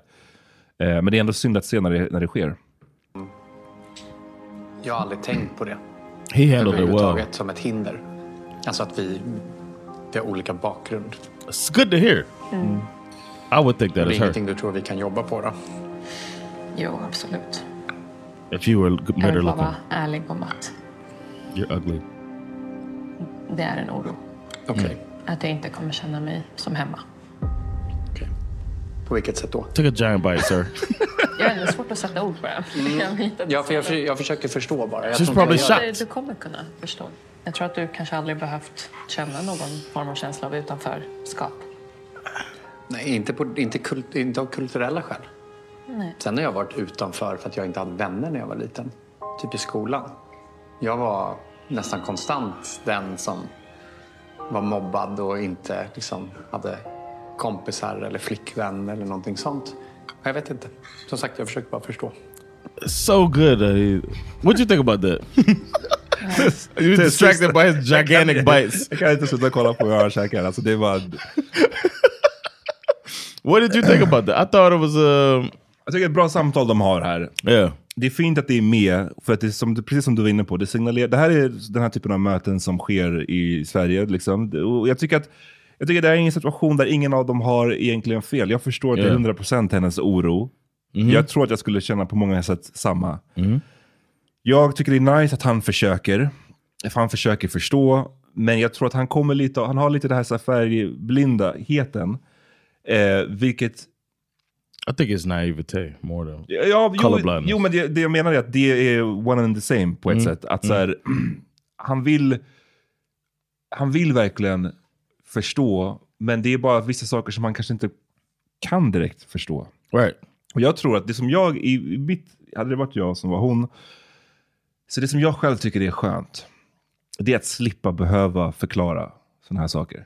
A: Eh, men det är ändå synd att se när det, när det sker.
D: Jag har aldrig tänkt på det.
B: He handled it well.
D: Överhuvudtaget som ett hinder. Alltså att vi, vi har olika bakgrund.
B: It's good to hear.
D: Mm.
B: I would think
D: Det
B: that
D: är
B: is her.
D: ingenting du tror vi kan jobba på då?
C: Jo, absolut.
B: If you were
C: Jag
B: better
C: vill bara vara
B: looking,
C: ärlig om att
B: you're ugly.
C: det är en oro.
D: Okej.
B: Mm.
C: Att jag inte kommer känna mig som hemma.
D: På vilket sätt då?
B: Took a giant bite, sir.
C: Jag har ändå svårt att sätta ord på det. Jag vet inte.
D: Ja, för jag, för, jag försöker förstå bara. Jag
B: She's
D: tror inte
B: probably
D: jag gör
B: shocked.
C: Du, du kommer kunna förstå. Jag tror att du kanske aldrig behövt känna någon form av känsla av utanförskap.
D: det. Nej, inte, på, inte, kult, inte av kulturella skäl.
C: Nej.
D: Sen har jag varit utanför för att jag inte hade vänner när jag var liten. Typ i skolan. Jag var nästan konstant den som var mobbad och inte liksom, hade kompisar eller flickvän eller någonting sånt. Jag vet inte. Som sagt, jag försöker bara förstå.
B: So good. That he, what'd you think about that? you were distracted by his gigantic bites.
A: Jag kan inte sluta kolla på hur han käkar. Alltså, det är bara...
B: What did you think about that? I thought it was um, a...
A: Jag tycker ett bra samtal de har här. Det är fint att det är med, för att det är som, precis som du var inne på, det, signalerar, det här är den här typen av möten som sker i Sverige. Liksom. Och jag tycker att jag tycker det här är en situation där ingen av dem har egentligen fel. Jag förstår till
B: Ja.
A: 100% hennes oro.
B: Mhm.
A: Jag tror att jag skulle känna på många sätt samma.
B: Mm.
A: Jag tycker det är nice att han försöker. Att han försöker förstå. Men jag tror att han kommer lite, han har lite det här, så här färgblindaheten. Eh, vilket...
B: I think it's naivete more than
A: Ja, jo,
B: colorblindness.
A: jo, men det, det jag menar är att det är one and the same på ett
B: Mm.
A: sätt. Att så
B: Mm.
A: här, han, vill, han vill verkligen förstå, men det är bara vissa saker som han kanske inte kan direkt förstå.
B: Right.
A: Och jag tror att det som jag, i i mitt, hade det varit jag som var hon, så det som jag själv tycker är skönt, det är att slippa behöva förklara sådana här saker.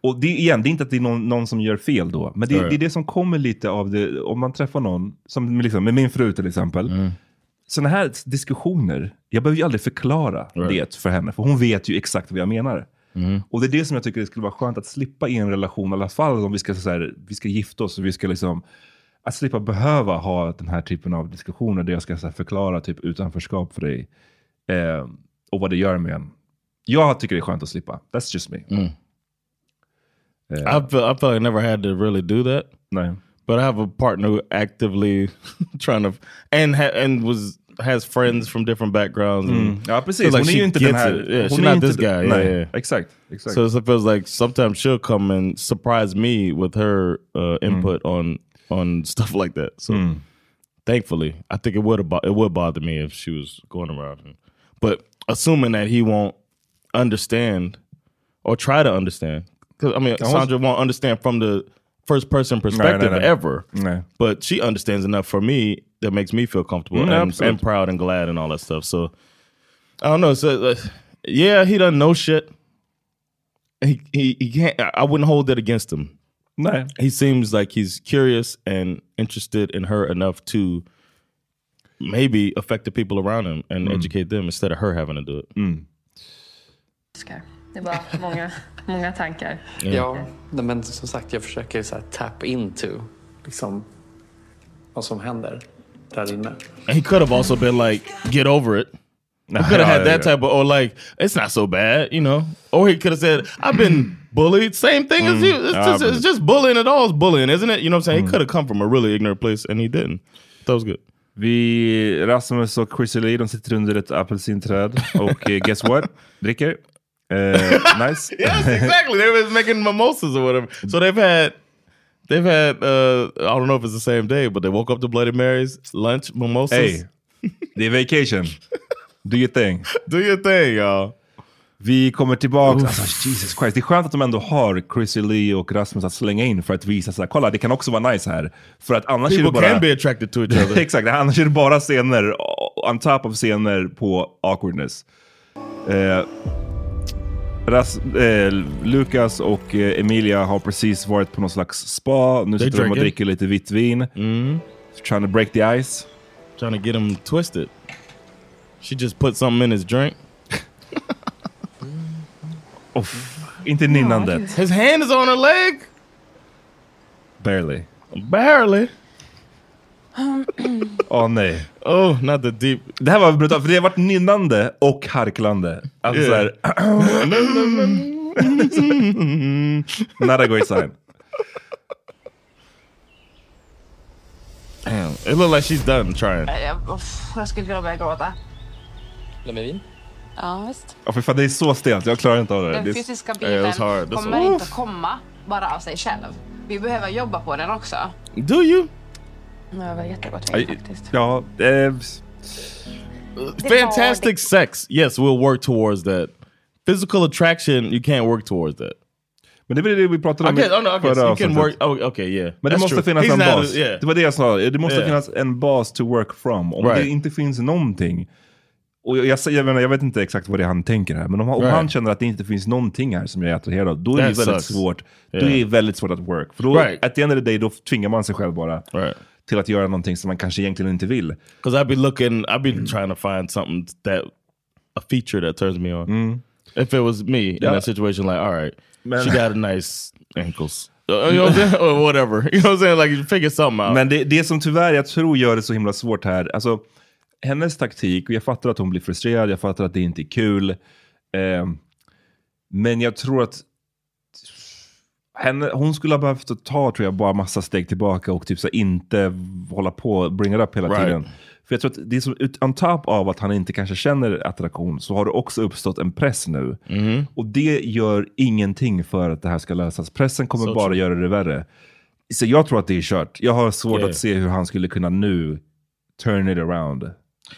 A: Och det, igen, det är inte att det är någon, någon som gör fel då, men det,
B: Ja, ja.
A: det är det som kommer lite av det, om man träffar någon, som liksom, med min fru till exempel, sådana här diskussioner, jag behöver ju aldrig förklara det för henne, för hon vet ju exakt vad jag menar. Och det är det som jag tycker det skulle vara skönt att slippa i en relation, i alla fall om vi ska, så här, vi ska gifta oss och vi ska liksom, att slippa behöva ha den här typen av diskussioner där jag ska så här, förklara typ utanförskap för dig eh, och vad det gör med en. Jag tycker det är skönt att slippa. That's just
B: Mm.
A: me.
B: I feel I feel I never had to really do that.
A: No.
B: But I have a partner who actively trying to and ha, and was has friends from different backgrounds. and
A: Mm. Ja, precis.
B: feels
A: Hon är
B: she
A: ju inte
B: gets
A: den här-
B: it. Yeah,
A: hon
B: she's
A: är
B: not
A: inte
B: this
A: d-
B: guy.
A: nej,
B: yeah, yeah.
A: exakt, exakt.
B: So it feels like sometimes she'll come and surprise me with her
A: Mm.
B: uh, input on on stuff like that. So thankfully, I think it would have bo- it would bother me if she was going around. And, but assuming that he won't understand or try to understand, because I mean,
A: I was-
B: Sandra won't understand from the first person perspective
A: no.
B: ever.
A: No.
B: But she understands enough for me that makes me feel comfortable
A: Mm,
B: and,
A: absolutely.
B: and proud and glad and all that stuff. So I don't know. So uh, yeah, he doesn't know shit. He, he he can't. I I wouldn't hold that against him.
A: No.
B: he seems like he's curious and interested in her enough to maybe affect the people around him
A: Mm.
B: and educate them instead of her having to do it.
C: Älskar. Det var många, många tankar.
D: Ja, nej, men som sagt, jag försöker så här tap into liksom, vad som händer där inne.
B: And he could have also been like, "Get over it." He could have had that type of, or like, "It's not so bad," you know. Or he could have said, "I've been bullied. Same thing as
A: Mm.
B: you. It's just,
A: Ah,
B: it's just bullying. It all is bullying, isn't it?" You know what I'm
A: Mm.
B: saying? He could have come from a really ignorant place, and he didn't. That was good.
A: Vi, Rasmus och Chrissy de sitter under ett apelsinträd och eh, guess what? Dricker. Eh, nice.
B: yes, exactly. They were making mimosas or whatever. So they've had they've had uh I don't know if it's the same day, but they woke up to Bloody Marys, lunch, mimosas.
A: Hey, det är vacation. Do your thing.
B: Do your thing, y'all.
A: Vi kommer tillbaka. Alltså, Jesus Christ. Det är skönt att de ändå har Chrissy Lee och Rasmus att slänga in för att visa så här, kolla det kan också vara nice här. För att annars är det
B: People
A: bara...
B: can be attracted to each other.
A: Exakt, annars är det bara scener o- on top of scener på awkwardness. Eh, Ras, eh, Lukas och eh, Emilia har precis varit på någon slags spa. Nu
B: They
A: sitter de och
B: drinking.
A: dricker lite vitt vin. Trying to break the ice.
B: Trying to Mm-hmm. get them twisted. She just put something in his drink.
A: Inte nynnandet.
B: His hand is on her leg.
A: Barely.
B: Barely.
A: Um, Åh nej.
B: Oh, not the deep.
A: Det här var brutalt, för det har varit nynnande och harklande. Alltså
B: Yeah.
A: såhär... Not a great sign.
B: Damn, it looked like she's done trying.
G: Nej, Jag, uff, jag skulle kunna börja gråta.
A: Vill med vin?
G: Ja, visst.
A: Ja, för fan, det är så stelt. Jag klarar inte av det.
G: Den
A: Det är-
G: fysiska
A: Yeah, it
G: biten
A: was hard. That's
G: kommer
A: all.
G: inte komma bara av sig själv. Vi behöver jobba på den också.
B: Do you?
G: Det var jättegott
B: Aj,
A: Ja, eh,
B: Fantastic sex. Yes, we'll work towards that. Physical attraction, you can't work towards that.
A: Men det var det vi pratade
B: I
A: om i
B: guess, oh, no, I guess
A: förra
B: you can
A: avsnittet.
B: work, oh, okay, yeah.
A: Men det
B: That's
A: måste
B: true.
A: finnas
B: He's
A: en
B: not a-
A: bas.
B: yeah.
A: Det var det jag sa. Det måste
B: Yeah.
A: finnas en bas to work from. Om
B: Right.
A: det inte finns någonting. Och jag, jag, säger- jag, menar, jag vet inte exakt vad det är han tänker här. Men om, han- om
B: Right.
A: han känner att det inte finns någonting här som jag är attraherad av. Då är
B: That
A: det väldigt
B: sucks.
A: svårt. Då
B: Yeah.
A: är det väldigt svårt att work. För då,
B: Right.
A: at the end of the day, då tvingar man sig själv bara. Till att göra någonting som man kanske egentligen inte vill.
B: Because I'd be looking, I'd be trying to find something that a feature that turns me on. If it was me
A: Mm. Yeah.
B: in that situation, like, all right,
A: Man-
B: she got a nice ankles, Uh, you know what I'm saying? or whatever. You know what I'm saying? Like, you figure something out.
A: Men det, det som tyvärr jag tror gör det så himla svårt här, alltså hennes taktik, och jag fattar att hon blir frustrerad, jag fattar att det inte är kul. ehm, men jag tror att henne, hon skulle ha behövt att ta, tror jag, bara massa steg tillbaka och typ så här inte hålla på och bring it up hela
B: Right.
A: tiden. För jag tror att det är som, ut- on top av att han inte kanske känner attraktion, så har det också uppstått en press nu.
B: Mm.
A: Och det gör ingenting för att det här ska lösas. Pressen kommer
B: So
A: bara
B: true.
A: göra det värre. Så jag tror att det är kört. Jag har svårt
B: Yeah.
A: att se hur han skulle kunna nu turn it around.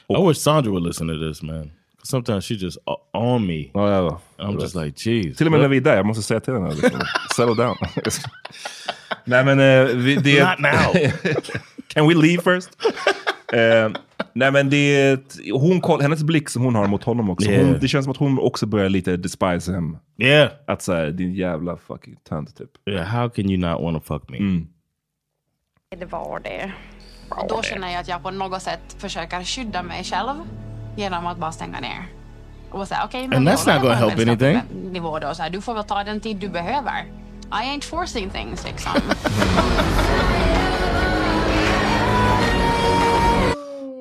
B: I wish Sandra would listen to this, man. 'Cause Sometimes she just o- on me.
A: Oh, yeah.
B: I'm just like, jeez.
A: Till och med när vi är där, jag måste säga till henne. Liksom. Settle down. nej men eh, vi, det...
B: Not now.
A: Can we leave first? Eh, nej men det... Hon, koll- hennes blick som hon har mot honom också.
B: Yeah.
A: Hon, det känns som att hon också börjar lite despise him.
B: Yeah.
A: Att såhär, din jävla fucking tönt typ. Mm.
B: Yeah, how can you not want to fuck me?
G: Det var det. Och då känner jag att jag på något sätt försöker skydda mig själv genom att bara stänga ner. Och säga okej, men
B: And
G: vi
B: that's
G: håller
B: not
G: på
B: gonna
G: en
B: help
G: vänskaplig
B: anything.
G: Nivå då, så här, du får väl ta den tid du behöver. I ain't forcing things liksom.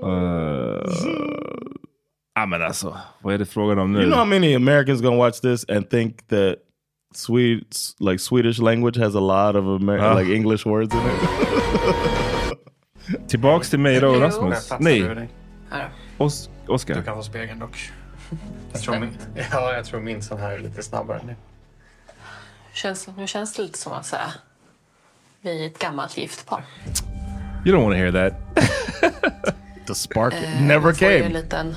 A: uh, Ah, men alltså, vad är det frågan om nu?
B: You know how many Americans gonna watch this and think that Swedes like Swedish language has a lot of Amer
A: Ah.
B: like English words in it?
A: Tillbaks till mig då,
B: Hello.
A: Rasmus.
B: Satsar du
A: Nej,
B: dig?
D: Här.
A: Os Oscar.
D: Du kan få spegeln dock. Jag tror min, ja, jag tror min sån här är lite snabbare. nu.
Q: Känns, nu känns det lite som att säga, vi är ett gammalt gift par.
A: You don't want to hear that.
B: The spark
Q: Eh, man får ju en liten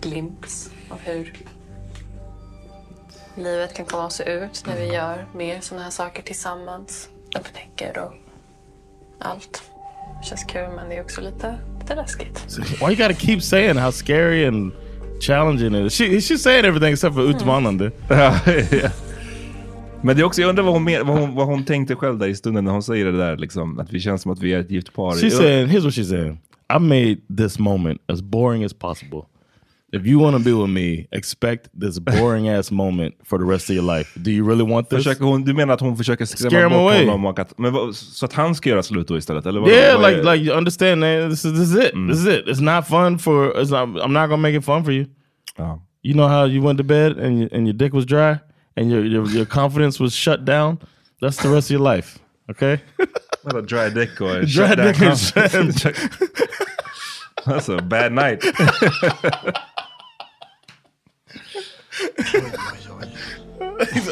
Q: glimt av hur livet kan komma att se ut när vi gör mer sådana här saker tillsammans. Upptäcker och allt. Det känns kul men det är också lite, lite läskigt.
B: Why you gotta keep saying how scary and challenging it is? She, she's saying everything except for utmanande.
A: Men det är också, jag undrar vad hon, men, vad, hon, vad hon tänkte själv där i stunden när hon säger det där. Liksom, att vi känns som att vi är ett gift par.
B: She's saying, here's what she's saying. I made this moment as boring as possible. If you want to be with me, expect this boring ass moment for the rest of your life. Do you really want this?
A: Försöker hon, du menar att hon försöker
B: Scare
A: skrämma
B: him
A: bort
B: away.
A: honom? Och att, men, vad- så att han ska göra slut då istället? Eller vad,
B: Yeah, Mm.
A: vad
B: like like you understand that this is this is it. This is it. It's not fun for. It's not, I'm not gonna make it fun for you. You know how you went to bed and you, and your dick was dry and your your, your confidence was shut down. That's the rest of your life. Okay.
A: What a dry dick or
B: Dry
A: shut down
B: dick and
A: confidence. That's a bad night.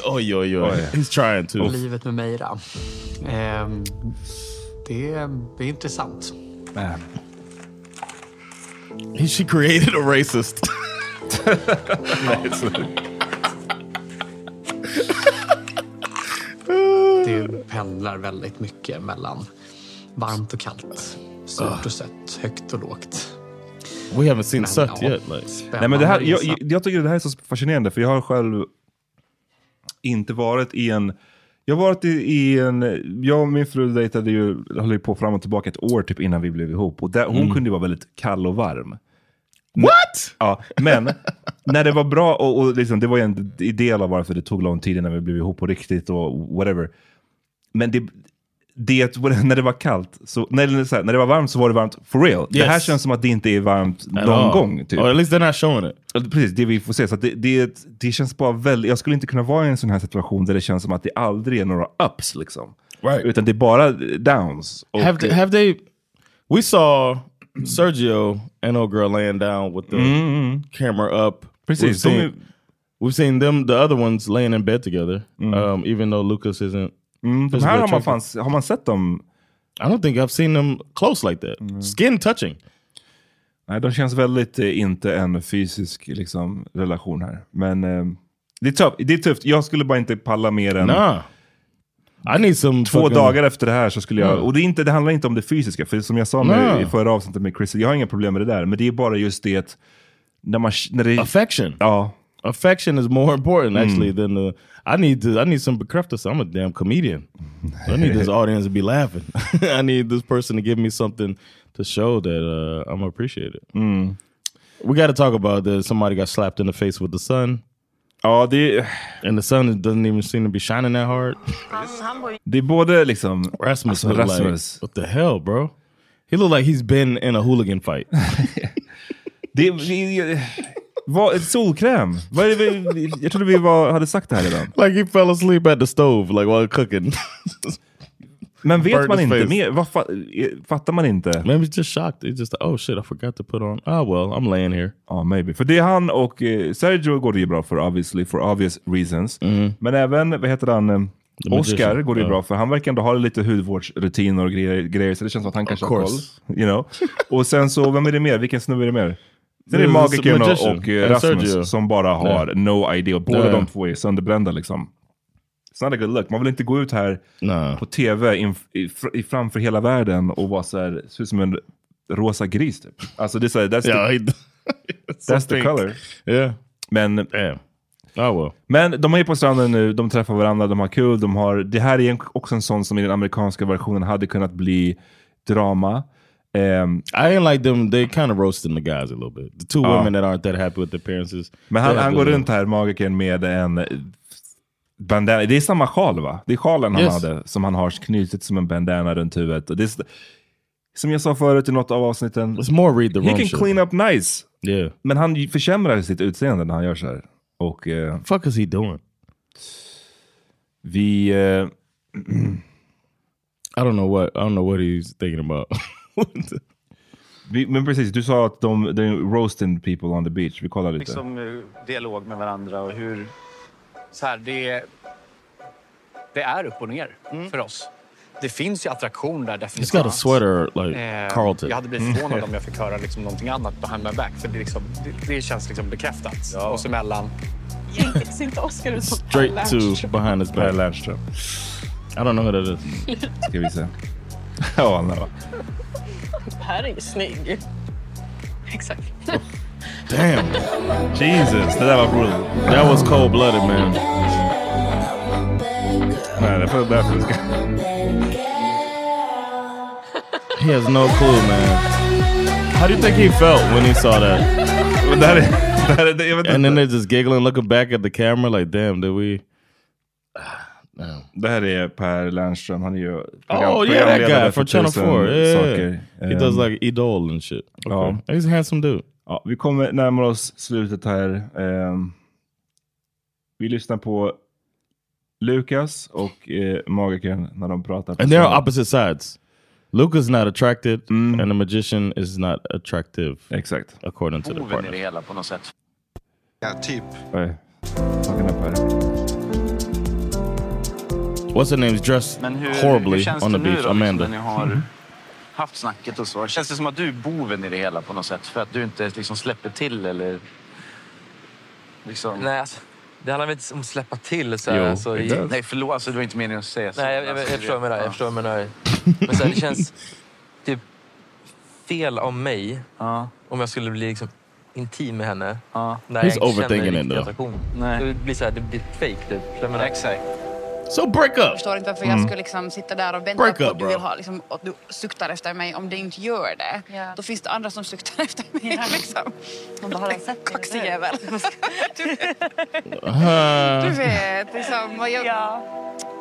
B: oj, oj, oj. Oh, He's trying to.
D: Livet med Meira. Ehm, det, det är intressant.
B: He, she created a racist.
D: Det pendlar väldigt mycket mellan varmt och kallt, surt och sött, högt och lågt.
B: We haven't seen
D: Men
B: sucked
D: ja,
B: yet. Like.
A: Nej, men det här, jag, jag- jag tycker det här är så fascinerande, för jag har själv inte varit i en... Jag har varit i, i en... Jag och min fru dejtade ju, höll ju på fram och tillbaka ett år typ innan vi blev ihop. Och där, hon
B: Mm.
A: kunde ju vara väldigt kall och varm. What? Ja, men när det var bra, och, och liksom, det var ju en del av varför det tog lång tid när vi blev ihop på riktigt och whatever. Men det, det, när det var kallt, så, nej, eller så här, när det var varmt så var det varmt for real. Det här
B: Yes.
A: känns som att det inte är varmt
B: At
A: någon
B: all.
A: gång. Typ.
B: Or at least they're not showing it.
A: Precis, det vi får se. Så att det, det, det känns bara väldigt, jag skulle inte kunna vara i en sån här situation där det känns som att det aldrig är några ups. Liksom.
B: Right.
A: Utan det är bara downs. Och
B: have
A: det-
B: they, have they? We saw Sergio and old girl laying down with the
A: Mm.
B: camera up.
A: Precis,
B: We've
A: de
B: seen,
A: är-
B: we've seen them, the other ones laying in bed together. Um, even though Lucas isn't.
A: Mm. de här har man fan- har man sett dem? Mm.
B: I don't think I've seen them close like that. Skin touching.
A: Nej, de känns väldigt eh, inte en fysisk liksom, relation här. Men eh, det, är tufft, det är tufft. Jag skulle bara inte palla mer än...
B: Nah. I need some
A: Två
B: fucking-
A: dagar efter det här så skulle jag...
B: Mm.
A: Och det, är inte, det handlar inte om det fysiska. För som jag sa med,
B: Nej.
A: i förra avsnittet med Chris, jag har inga problem med det där. Men det är bara just det att... När man, när det,
B: Affection.
A: Ja. Mm.
B: Affection is more important actually than the. I need to. I need some bekräftelse. I'm a damn comedian. I need this audience to be laughing. I need this person to give me something to show that uh, I'm appreciated.
A: Mm.
B: We got to talk about the somebody got slapped in the face with the sun.
A: Oh, the
B: and the sun doesn't even seem to be shining that hard.
A: Det är både liksom
B: Rasmus,
A: alltså,
B: looked like,
A: Rasmus.
B: what the hell, bro? He looked like he's been in a hooligan fight.
A: Det, det, vad, solkräm! Vad är det vi, jag trodde vi var, hade sagt det här redan.
B: like he fell asleep at the stove, like while cooking.
A: Men vet
B: Burnt
A: man
B: his
A: inte
B: face.
A: mer? Vad fa, eh, fattar man inte?
B: Maybe just shocked. It's just oh shit, I forgot to put on. Ah well, I'm laying here.
A: Ja, maybe. För det är han och eh, Sergio går det ju bra för obviously, for obvious reasons.
B: Mm.
A: Men även, vad heter han, eh,
B: The
A: Oscar
B: Magician,
A: går det ju
B: ja.
A: bra för. Han verkar ändå ha lite hudvårdsrutiner och grejer, grejer, så det känns som att han kanske har koll.
B: course.
A: You know? och sen så, vem är det mer? Vilken snubbe är det mer? Sen är det
B: The
A: Magikern och,
B: Magician
A: och eh,
B: and
A: Rasmus
B: Mm, Sergio.
A: som bara har
B: Ja.
A: no idea. Och Båda
B: Ja.
A: de två är sönderbrända liksom. It's not a good look. Man vill inte gå ut här på tv inf- i, fr- i, framför hela världen och vara så här, se ut som en rosa gris typ. Alltså det är så här, that's
B: Ja,
A: the,
B: i- so
A: that's the
B: pink.
A: color.
B: Yeah.
A: Men, eh, men de är på stranden nu, de träffar varandra, de har kul. De har, det här är en- också en sån som i den amerikanska versionen hade kunnat bli drama. Ehm,
B: I didn't like them. They kind of roasting the guys a little bit. The two
A: Ja.
B: women that aren't that happy with their appearances.
A: men han,
B: they have
A: han går
B: to-
A: runt här, magikern, med en eh, bandana. Det är samma sjal va? Det är sjalen han
B: Yes.
A: hade som han har knutit som en bandana runt huvudet. Och det är, s- som jag sa förut i något av avsnitten.
B: It's more read the
A: He
B: room
A: can
B: shit.
A: clean up nice.
B: Yeah.
A: Men han ju försämrar sitt utseende när han gör så här. Och, eh,
B: Fuck is he doing?
A: Vi... eh,
B: I don't know what I don't know what he's thinking about.
A: vi, men precis, du sa att de, de roasting people on the beach. Vi kollar lite.
R: liksom, eh, dialog med varandra och hur... Så här, det, det är upp och ner
D: Mm.
R: för oss. Det finns ju attraktion där definitivt.
B: got a sweater like
R: Eh,
B: Carlton. Mm.
R: Jag hade blivit förvånad om jag fick höra liksom någonting annat behind my back. För det, liksom, det, det känns liksom bekräftat oss emellan.
L: Ser inte Oscar ut som
B: Straight
L: alla?
B: to behind his back. I don't know who that is. Oh,
A: Ska vi se. ja, han där
L: Här är ju snygg. Exakt.
B: Oh. Damn. Jesus, that was brutal. That was cold blooded, man.
A: Nej, det får därför ska...
B: He has no clue, man. How do you think he felt when he saw that? and then they're just giggling, looking back at the camera, like, damn, did we?
A: Det här är Per Lernström. Han är ju program,
B: Oh yeah, that
A: programledare
B: guy for Channel
A: tusen
B: 4. Yeah,
A: saker.
B: he
A: Ehm,
B: does like Idol and shit. Okay.
A: Ja.
B: He's a handsome dude.
A: Ja, vi kommer närma oss slutet här. Ehm, vi lyssnar på Lukas och eh, Magikern när de pratar. på
B: And they're on
A: scenen.
B: opposite sides. Luca's not attracted, and the magician is not attractive.
A: Mm. Exact.
B: According to the
R: Boven i
B: partner.
R: det hela på något sätt.
J: Ja, typ.
A: Oj, fucking up här.
B: What's her name's dressed
R: Men hur, hur
B: horribly
R: känns
B: on
R: det
B: the
R: nu
B: beach?
R: då, liksom,
B: Amanda. Mm-hmm.
R: när ni har haft snacket och så? Känns det som att du är boven i det hela på något sätt? För att du inte liksom släpper till eller... Liksom...
F: Nej, alltså, det handlar väl inte om att släppa till. Så här,
R: Jo,
F: alltså, i-
R: Nej, förlåt. Alltså, det var inte meningen att säga så.
F: Nej, jag, jag, jag
R: Alltså,
F: förstår vad du menar.
R: ja.
F: Jag förstår vad du menar. Men så här, det känns typ fel av mig om jag skulle bli liksom intim med henne när
B: He's
F: jag inte
B: overthinking it
F: känner riktig
B: though.
F: attraktion. Det blir så här, det blir fake typ. Exakt.
B: So break up!
G: Jag förstår inte varför
B: Mm.
G: jag ska liksom sitta där och vänta
B: Break
G: på
B: up,
G: att du vill
B: bro.
G: ha liksom, att du suktar efter mig om du inte gör det. Då finns det andra som suktar efter mig. Liksom. Hon bara, har den sett Kaxig jävel.
B: Eh.
G: Du vet, liksom. Och jag,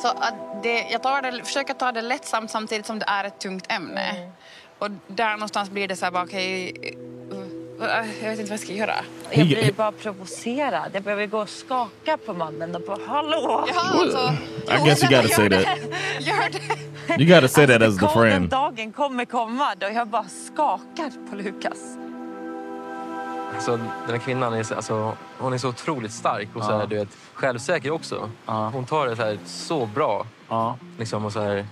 G: så att det, jag tar det, försöker ta det lättsamt samtidigt som det är ett tungt ämne.
E: Mm.
G: Och där någonstans blir det så här, bara, okej, eh, eh, jag vet inte vad jag ska göra.
E: Jag blir bara provocerad. Jag behöver gå och skaka på mannen och bara hallå!
G: Ja, alltså,
B: I guess you gotta say that.
G: Gör det!
B: You gotta say that as the
E: Alltså, Kom, den
B: friend.
E: dagen kommer komma då jag bara skakar på Lukas.
F: Alltså, den här kvinnan är, så- alltså, hon är så otroligt stark och så här,
R: Ja.
F: du vet, självsäker också. Hon tar det så, här, så bra. Liksom, och så här,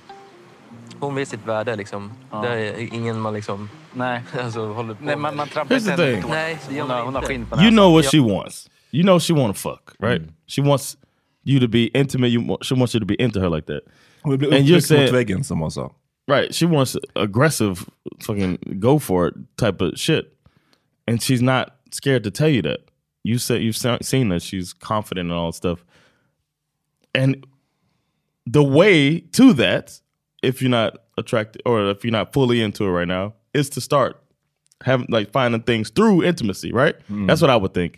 F: hon vet sitt värde. Liksom. Det är ingen man liksom, Nej. Alltså, håller på
R: Nej, man-
F: med.
R: man trampar Here's the inte thing.
F: Nej, det gör
R: Hon har-
F: man
R: hon har
F: inte.
R: skinn på
B: You know what she wants. You know she want to fuck, right? She wants you to be intimate. You want, she wants you to be into her like that.
A: Hon blir
B: And you're
A: upptryckt mot
B: saying-
A: väggen som hon sa.
B: Right. She wants aggressive, fucking go for it type of shit, and she's not scared to tell you that. You said you've se- seen that she's confident and all that stuff, and the way to that, if you're not attracted or if you're not fully into it right now, is to start having like finding things through intimacy. Right.
A: Hmm.
B: That's what I would think,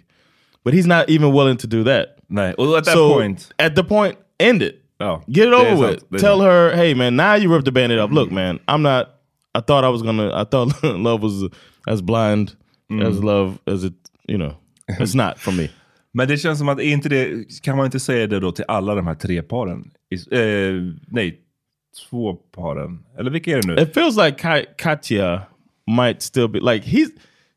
B: but he's not even willing to do that. Right.
A: Well, at that point-
B: at the point, end it. Oh, get it
A: Yeah,
B: over
A: it's Hmm.
B: with.
A: out- it's
B: Tell
A: out.
B: her, hey man, now you ripped the bandit up. Look, man, I'm not. I thought I was gonna. I thought love was as blind
A: Hmm.
B: as
A: Mm.
B: love as it. You know, it's not for me.
A: Men det känns som att, är inte det, kan man inte säga det då till alla de här tre paren? I, eh, nej, två paren. Eller vilka är det nu?
B: It feels like Ka- Katya might still be like he's.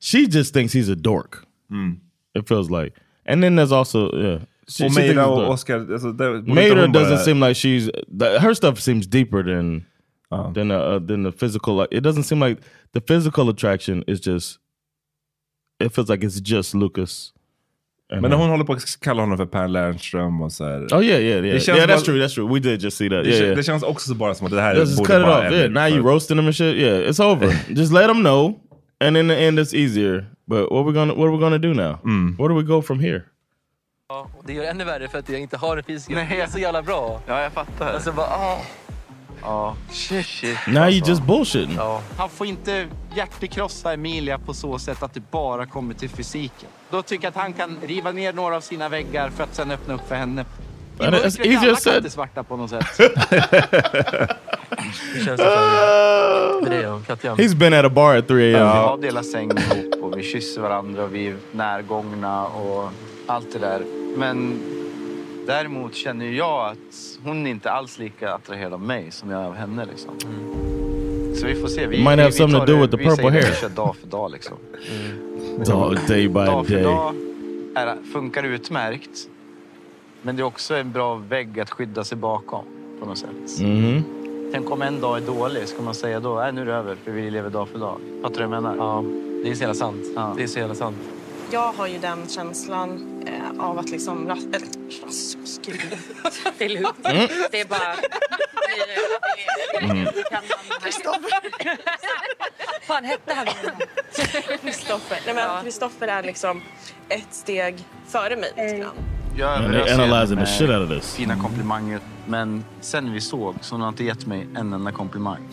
B: She just thinks he's a dork.
A: Mm.
B: It feels like, and then there's also yeah. She,
A: och
B: she thinks he's a
A: Meira och
B: dork.
A: Oscar. Alltså, där, borde inte
B: Mater
A: hon bara-
B: doesn't seem like she's the, her stuff seems deeper than than the, uh, than the physical. Like, it doesn't seem like the physical attraction is just. It feels like it's just Lucas. and
A: Men
B: her.
A: hon håller på att kalla honom för Per Lernström och så här.
B: Uh-huh. Oh yeah, yeah, yeah.
A: Det känns
B: yeah,
A: som
B: that's
A: att-
B: true. That's true. We did just see that.
A: Det,
B: Yeah,
A: kän-
B: yeah.
A: det känns också bara som att det här
B: Let's just
A: borde
B: cut it
A: vara
B: off. Yeah,
A: en-
B: now you roasting them and shit. Yeah, it's over. just let them know, and in the end, it's easier. But what we gonna what are we gonna do now? Where do we go from here?
F: Ja, och det gör det ännu värre för att jag inte har en fysisk... Nej. Det är så jävla bra. Ja, jag fattar. Alltså, bara, ah.
S: Ja. Shit. shit.
B: Now you
R: Alltså.
B: just bullshitting.
S: Han får inte hjärtekrossa Emilia på så sätt att det bara kommer till fysiken. Då tycker jag att han kan riva ner några av sina väggar för att sen öppna upp för henne. I
B: Men det är
S: mörkret är
B: easier
S: alla
B: said.
S: katter svarta på något sätt.
F: Det känns det för det är jag, Katja.
B: He's been at a bar at 3 a.m.
S: Ja, vi delar säng ihop och vi kysser varandra och vi är närgångna och allt det där. Men däremot känner ju jag att hon är inte alls lika attraherad av mig som jag är av henne. Liksom.
F: Mm.
S: Så vi får se. Vi,
B: Might
S: vi,
B: have
S: vi
B: something
S: tar
B: to do
S: det-
B: with the
S: vi
B: purple
S: säger det,
B: hair.
S: Vi kör dag för dag liksom.
B: Dog, day by
S: dag för
B: day.
S: dag är, det- funkar utmärkt. Men det är också en bra vägg att skydda sig bakom på något sätt.
B: Mhm.
S: Tänk om en dag är dålig, ska man säga då nej nu är det över för vi lever dag för dag? Fattar du vad jag menar? Ja, det är så jävla sant. Det är så jävla sant.
L: Jag har ju den känslan eh, av att liksom... Ras- äh, ras- gud. Det är lugnt.
E: Mm.
L: Det är bara...
E: Mm.
L: Kristoffer!
E: Fan hette han
L: Kristoffer. Nej, men Kristoffer är liksom ett steg före mig. lite grann.
S: Jag
B: Man, they
S: överöser
B: analyzing
S: henne
B: the shit
S: med
B: out of this.
S: Fina komplimanger. Men sen vi såg så hon har inte gett mig en enda komplimang.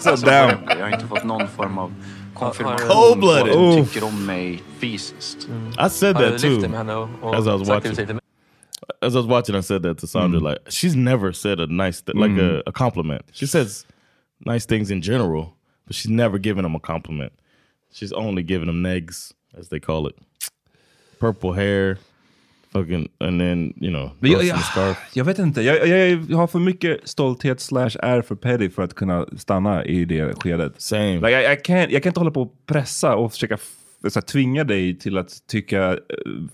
S: så
A: damn.
S: var det. Jag har inte fått någon form av konfirmation på
B: Cold-blooded.
S: att hon
B: Oof.
S: tycker om mig fysiskt.
B: I said
S: Har
B: that
S: du
B: too.
S: lyft det med henne och- och
B: as I was
S: sagt det
B: watching,
S: du säger till
B: as I was watching, I said that to Sandra. Like she's never said a nice, th- like
A: Mm.
B: a, a compliment. She says nice things in general, but she's never giving him a compliment. She's only giving him negs, as they call it. Purple hair, fucking, and then you know,
A: Men jag,
B: roasting
A: jag,
B: scarf.
A: jag vet inte, jag, jag, jag har för mycket stolthet slash är för petty för att kunna stanna i det skedet.
B: Same.
A: Like, I, I can't, jag kan inte hålla på och pressa och försöka f- så här, tvinga dig till att tycka, eh,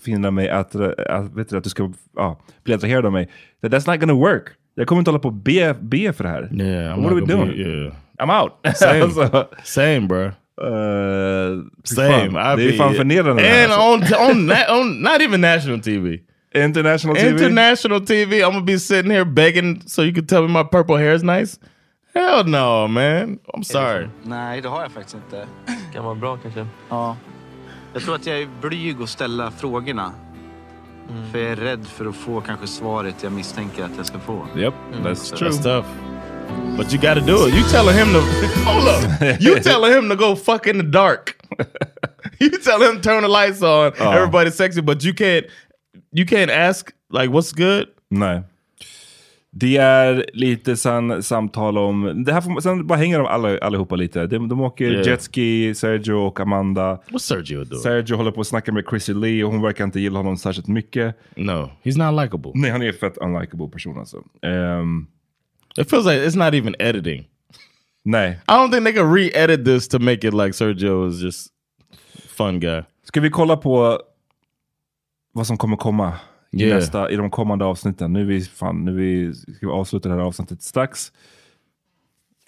A: finna mig, att, att, vet du, att du ska ja, bli attraherad av mig. That, that's not gonna work. Jag kommer inte hålla på och be, be för det här.
B: Yeah, I'm not
A: What are we
B: gonna
A: doing?
B: be- yeah.
A: I'm out.
B: Same,
A: Alltså,
B: same, bro.
A: Uh,
B: same. I
A: fan, det är
B: be-
A: fan förnedrande det här,
B: And on,
A: alltså.
B: on, na- on, not even national TV.
A: International TV?
B: International TV. I'm gonna be sitting here begging so you can tell me my purple hair is nice. Hell no, man. I'm sorry.
S: Nej, det har jag faktiskt inte.
F: Kan vara bra kanske.
S: Ja. Jag tror att jag är blyg att ställa frågorna. För jag är rädd för att få kanske svaret jag misstänker att jag ska få.
B: Yep, that's
S: Så-
B: true. That's tough. But you got to do it. You telling him to hold up. You telling him to go fuck in the dark. you tell him turn the lights on.
A: Oh.
B: Everybody's sexy, but you can't. You can't ask like what's good.
A: Nej. Det är lite san, samtal om... Det här får, man- sen bara hänger de alla, allihopa lite. De, de åker
B: Yeah.
A: jetski, Sergio och Amanda.
B: What's Sergio doing?
A: Sergio håller på att snacka med Chrissy Lee och hon verkar inte gilla honom särskilt mycket.
B: No, he's not likable.
A: Nej, han är en fett unlikable person alltså. Um,
B: It feels like it's not even editing.
A: Nej.
B: I don't think they can re-edit this to make it like Sergio is just fun guy.
A: Ska vi kolla på vad som kommer komma i,
B: Yeah.
A: nästa, i de kommande avsnitten? Nu, är vi, fan, nu är vi, ska vi avsluta det här avsnittet strax.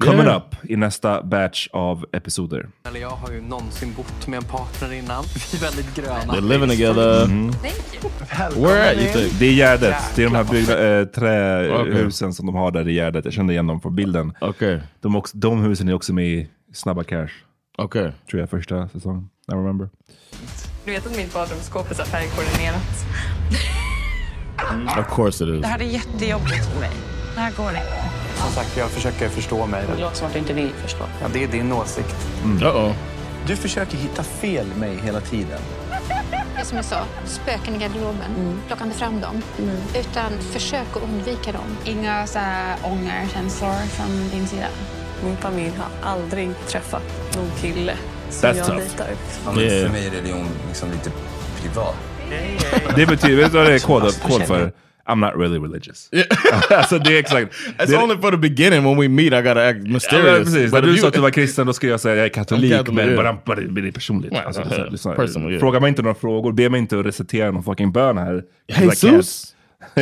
A: Coming
M: Yeah.
A: up i nästa batch av episoder.
M: Eller jag har ju någonsin bott med en partner innan. Vi är väldigt gröna.
A: They're living together. Mhm.
M: Where at, you think?
A: Det är Gärdet. Det är de här byggda, äh, trähusen
B: Okej.
A: som de har där i Gärdet. Jag kände igen dem från bilden.
B: Okay.
A: De, också, de husen är också med i Snabba Cash.
B: Okay.
A: Tror jag första säsongen. I remember.
L: Du vet att mitt badrumsskåp är så här färgkoordinerat?
B: Of course it is.
L: Det här är jättejobbigt för mig. Det här går inte.
M: Som sagt, jag försöker förstå mig. Det låter som att inte ni förstår. Ja, det är din åsikt.
B: Uh-oh.
S: Du försöker hitta fel mig hela tiden.
I: Ja, Som jag sa, spöken i garderoben.
Q: Mm.
I: Plocka inte fram dem. Utan försök att undvika dem.
G: Inga så här ångerkänslor från din sida?
Q: Min familj har aldrig träffat någon kille som
A: That's
Q: jag
A: tough.
Q: dejtar.
K: Ja, men
A: Yeah.
K: För mig är religion liksom lite privat.
A: Det betyder, vet du vad det är kod, kod för? I'm not really religious. alltså det är exakt.
B: It's
A: det är-
B: only for the beginning when we meet I gotta act
A: Ja, men
B: mysterious.
A: precis. När
B: But if
A: du
B: you-
A: sa att du var kristen, då skulle jag säga jag är katolik,
B: I'm Catholic,
A: men
B: yeah.
A: bara bara- det är personligt.
B: Yeah,
A: Alltså,
B: yeah,
A: lyssna,
B: yeah.
A: lyssna.
B: uh, Personal, yeah.
A: Fråga mig inte några frågor, be mig inte att recitera någon fucking bön här.
B: Jesus?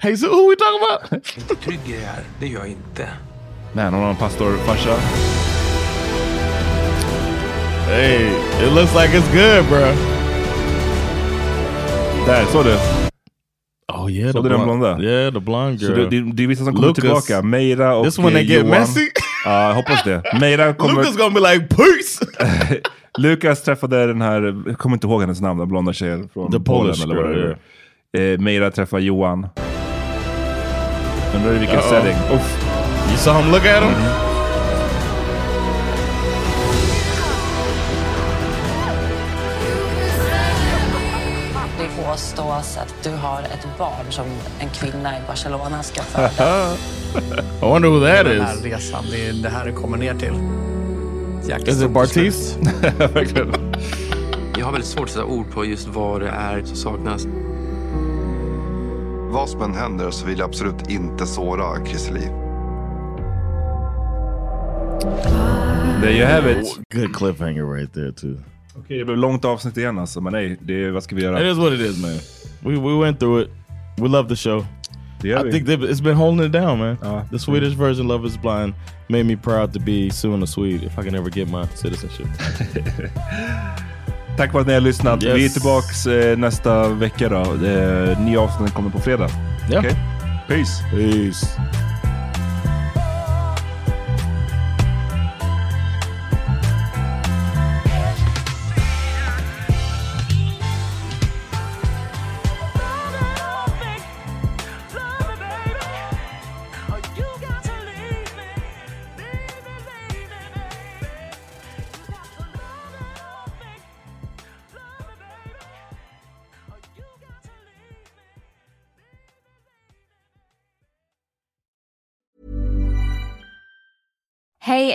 B: Hey, so who we talking about?
M: Inte trygg i det här. Det gör jag inte.
A: Man, hon har en pastorfarsa.
B: Hey, it looks like it's good, bro.
A: Där, såg du?
B: Oh yeah,
A: Såg du den blonda?
B: Yeah, the blonde
A: Så
B: girl.
A: det, det, det är vissa som kommer
B: Lucas.
A: tillbaka. Meira och
B: This when they
A: eh,
B: get
A: Johan.
B: messy.
A: Ja, jag hoppas det. Meira kommer...
B: Lucas gonna be like, peace!
A: Lukas träffade den här, jag kommer inte ihåg hennes namn, den blonda tjejen från
B: The
A: Polen
B: Polish
A: eller vad
B: girl,
A: det är. Eh, Meira träffar Johan. Undrar i vilken
B: Uh-oh.
A: setting. Uff.
B: You saw him look at him?
T: Det påstås att du har ett barn som en kvinna i Barcelona ska föda.
B: I wonder who that
M: Den här
B: is.
M: resan, det är det här det kommer ner till. Jäkla
B: Is it
M: stort
B: Bartiz?
F: Jag har väldigt svårt att sätta ord på just vad det är som saknas.
J: Vad som än händer så vill jag absolut inte såra Christer Lee.
A: There you have it.
B: Good cliffhanger right there too.
A: Okej, det blev långt avsnitt igen alltså, men nej, det, är- vad ska vi göra?
B: It is what it is, man. We we went through it. We love the show.
A: Yeah,
B: I
A: we-
B: think they've- it's been holding it down, man. the Swedish version "Love Is Blind" made me proud to be soon a Swede if I can ever get my citizenship.
A: Tack för att ni har lyssnat.
B: Yes.
A: Vi är tillbaks eh, nästa vecka då. Eh, nya avsnitt kommer på fredag.
B: Yeah.
A: Okej? Peace.
B: Peace.
U: Hey,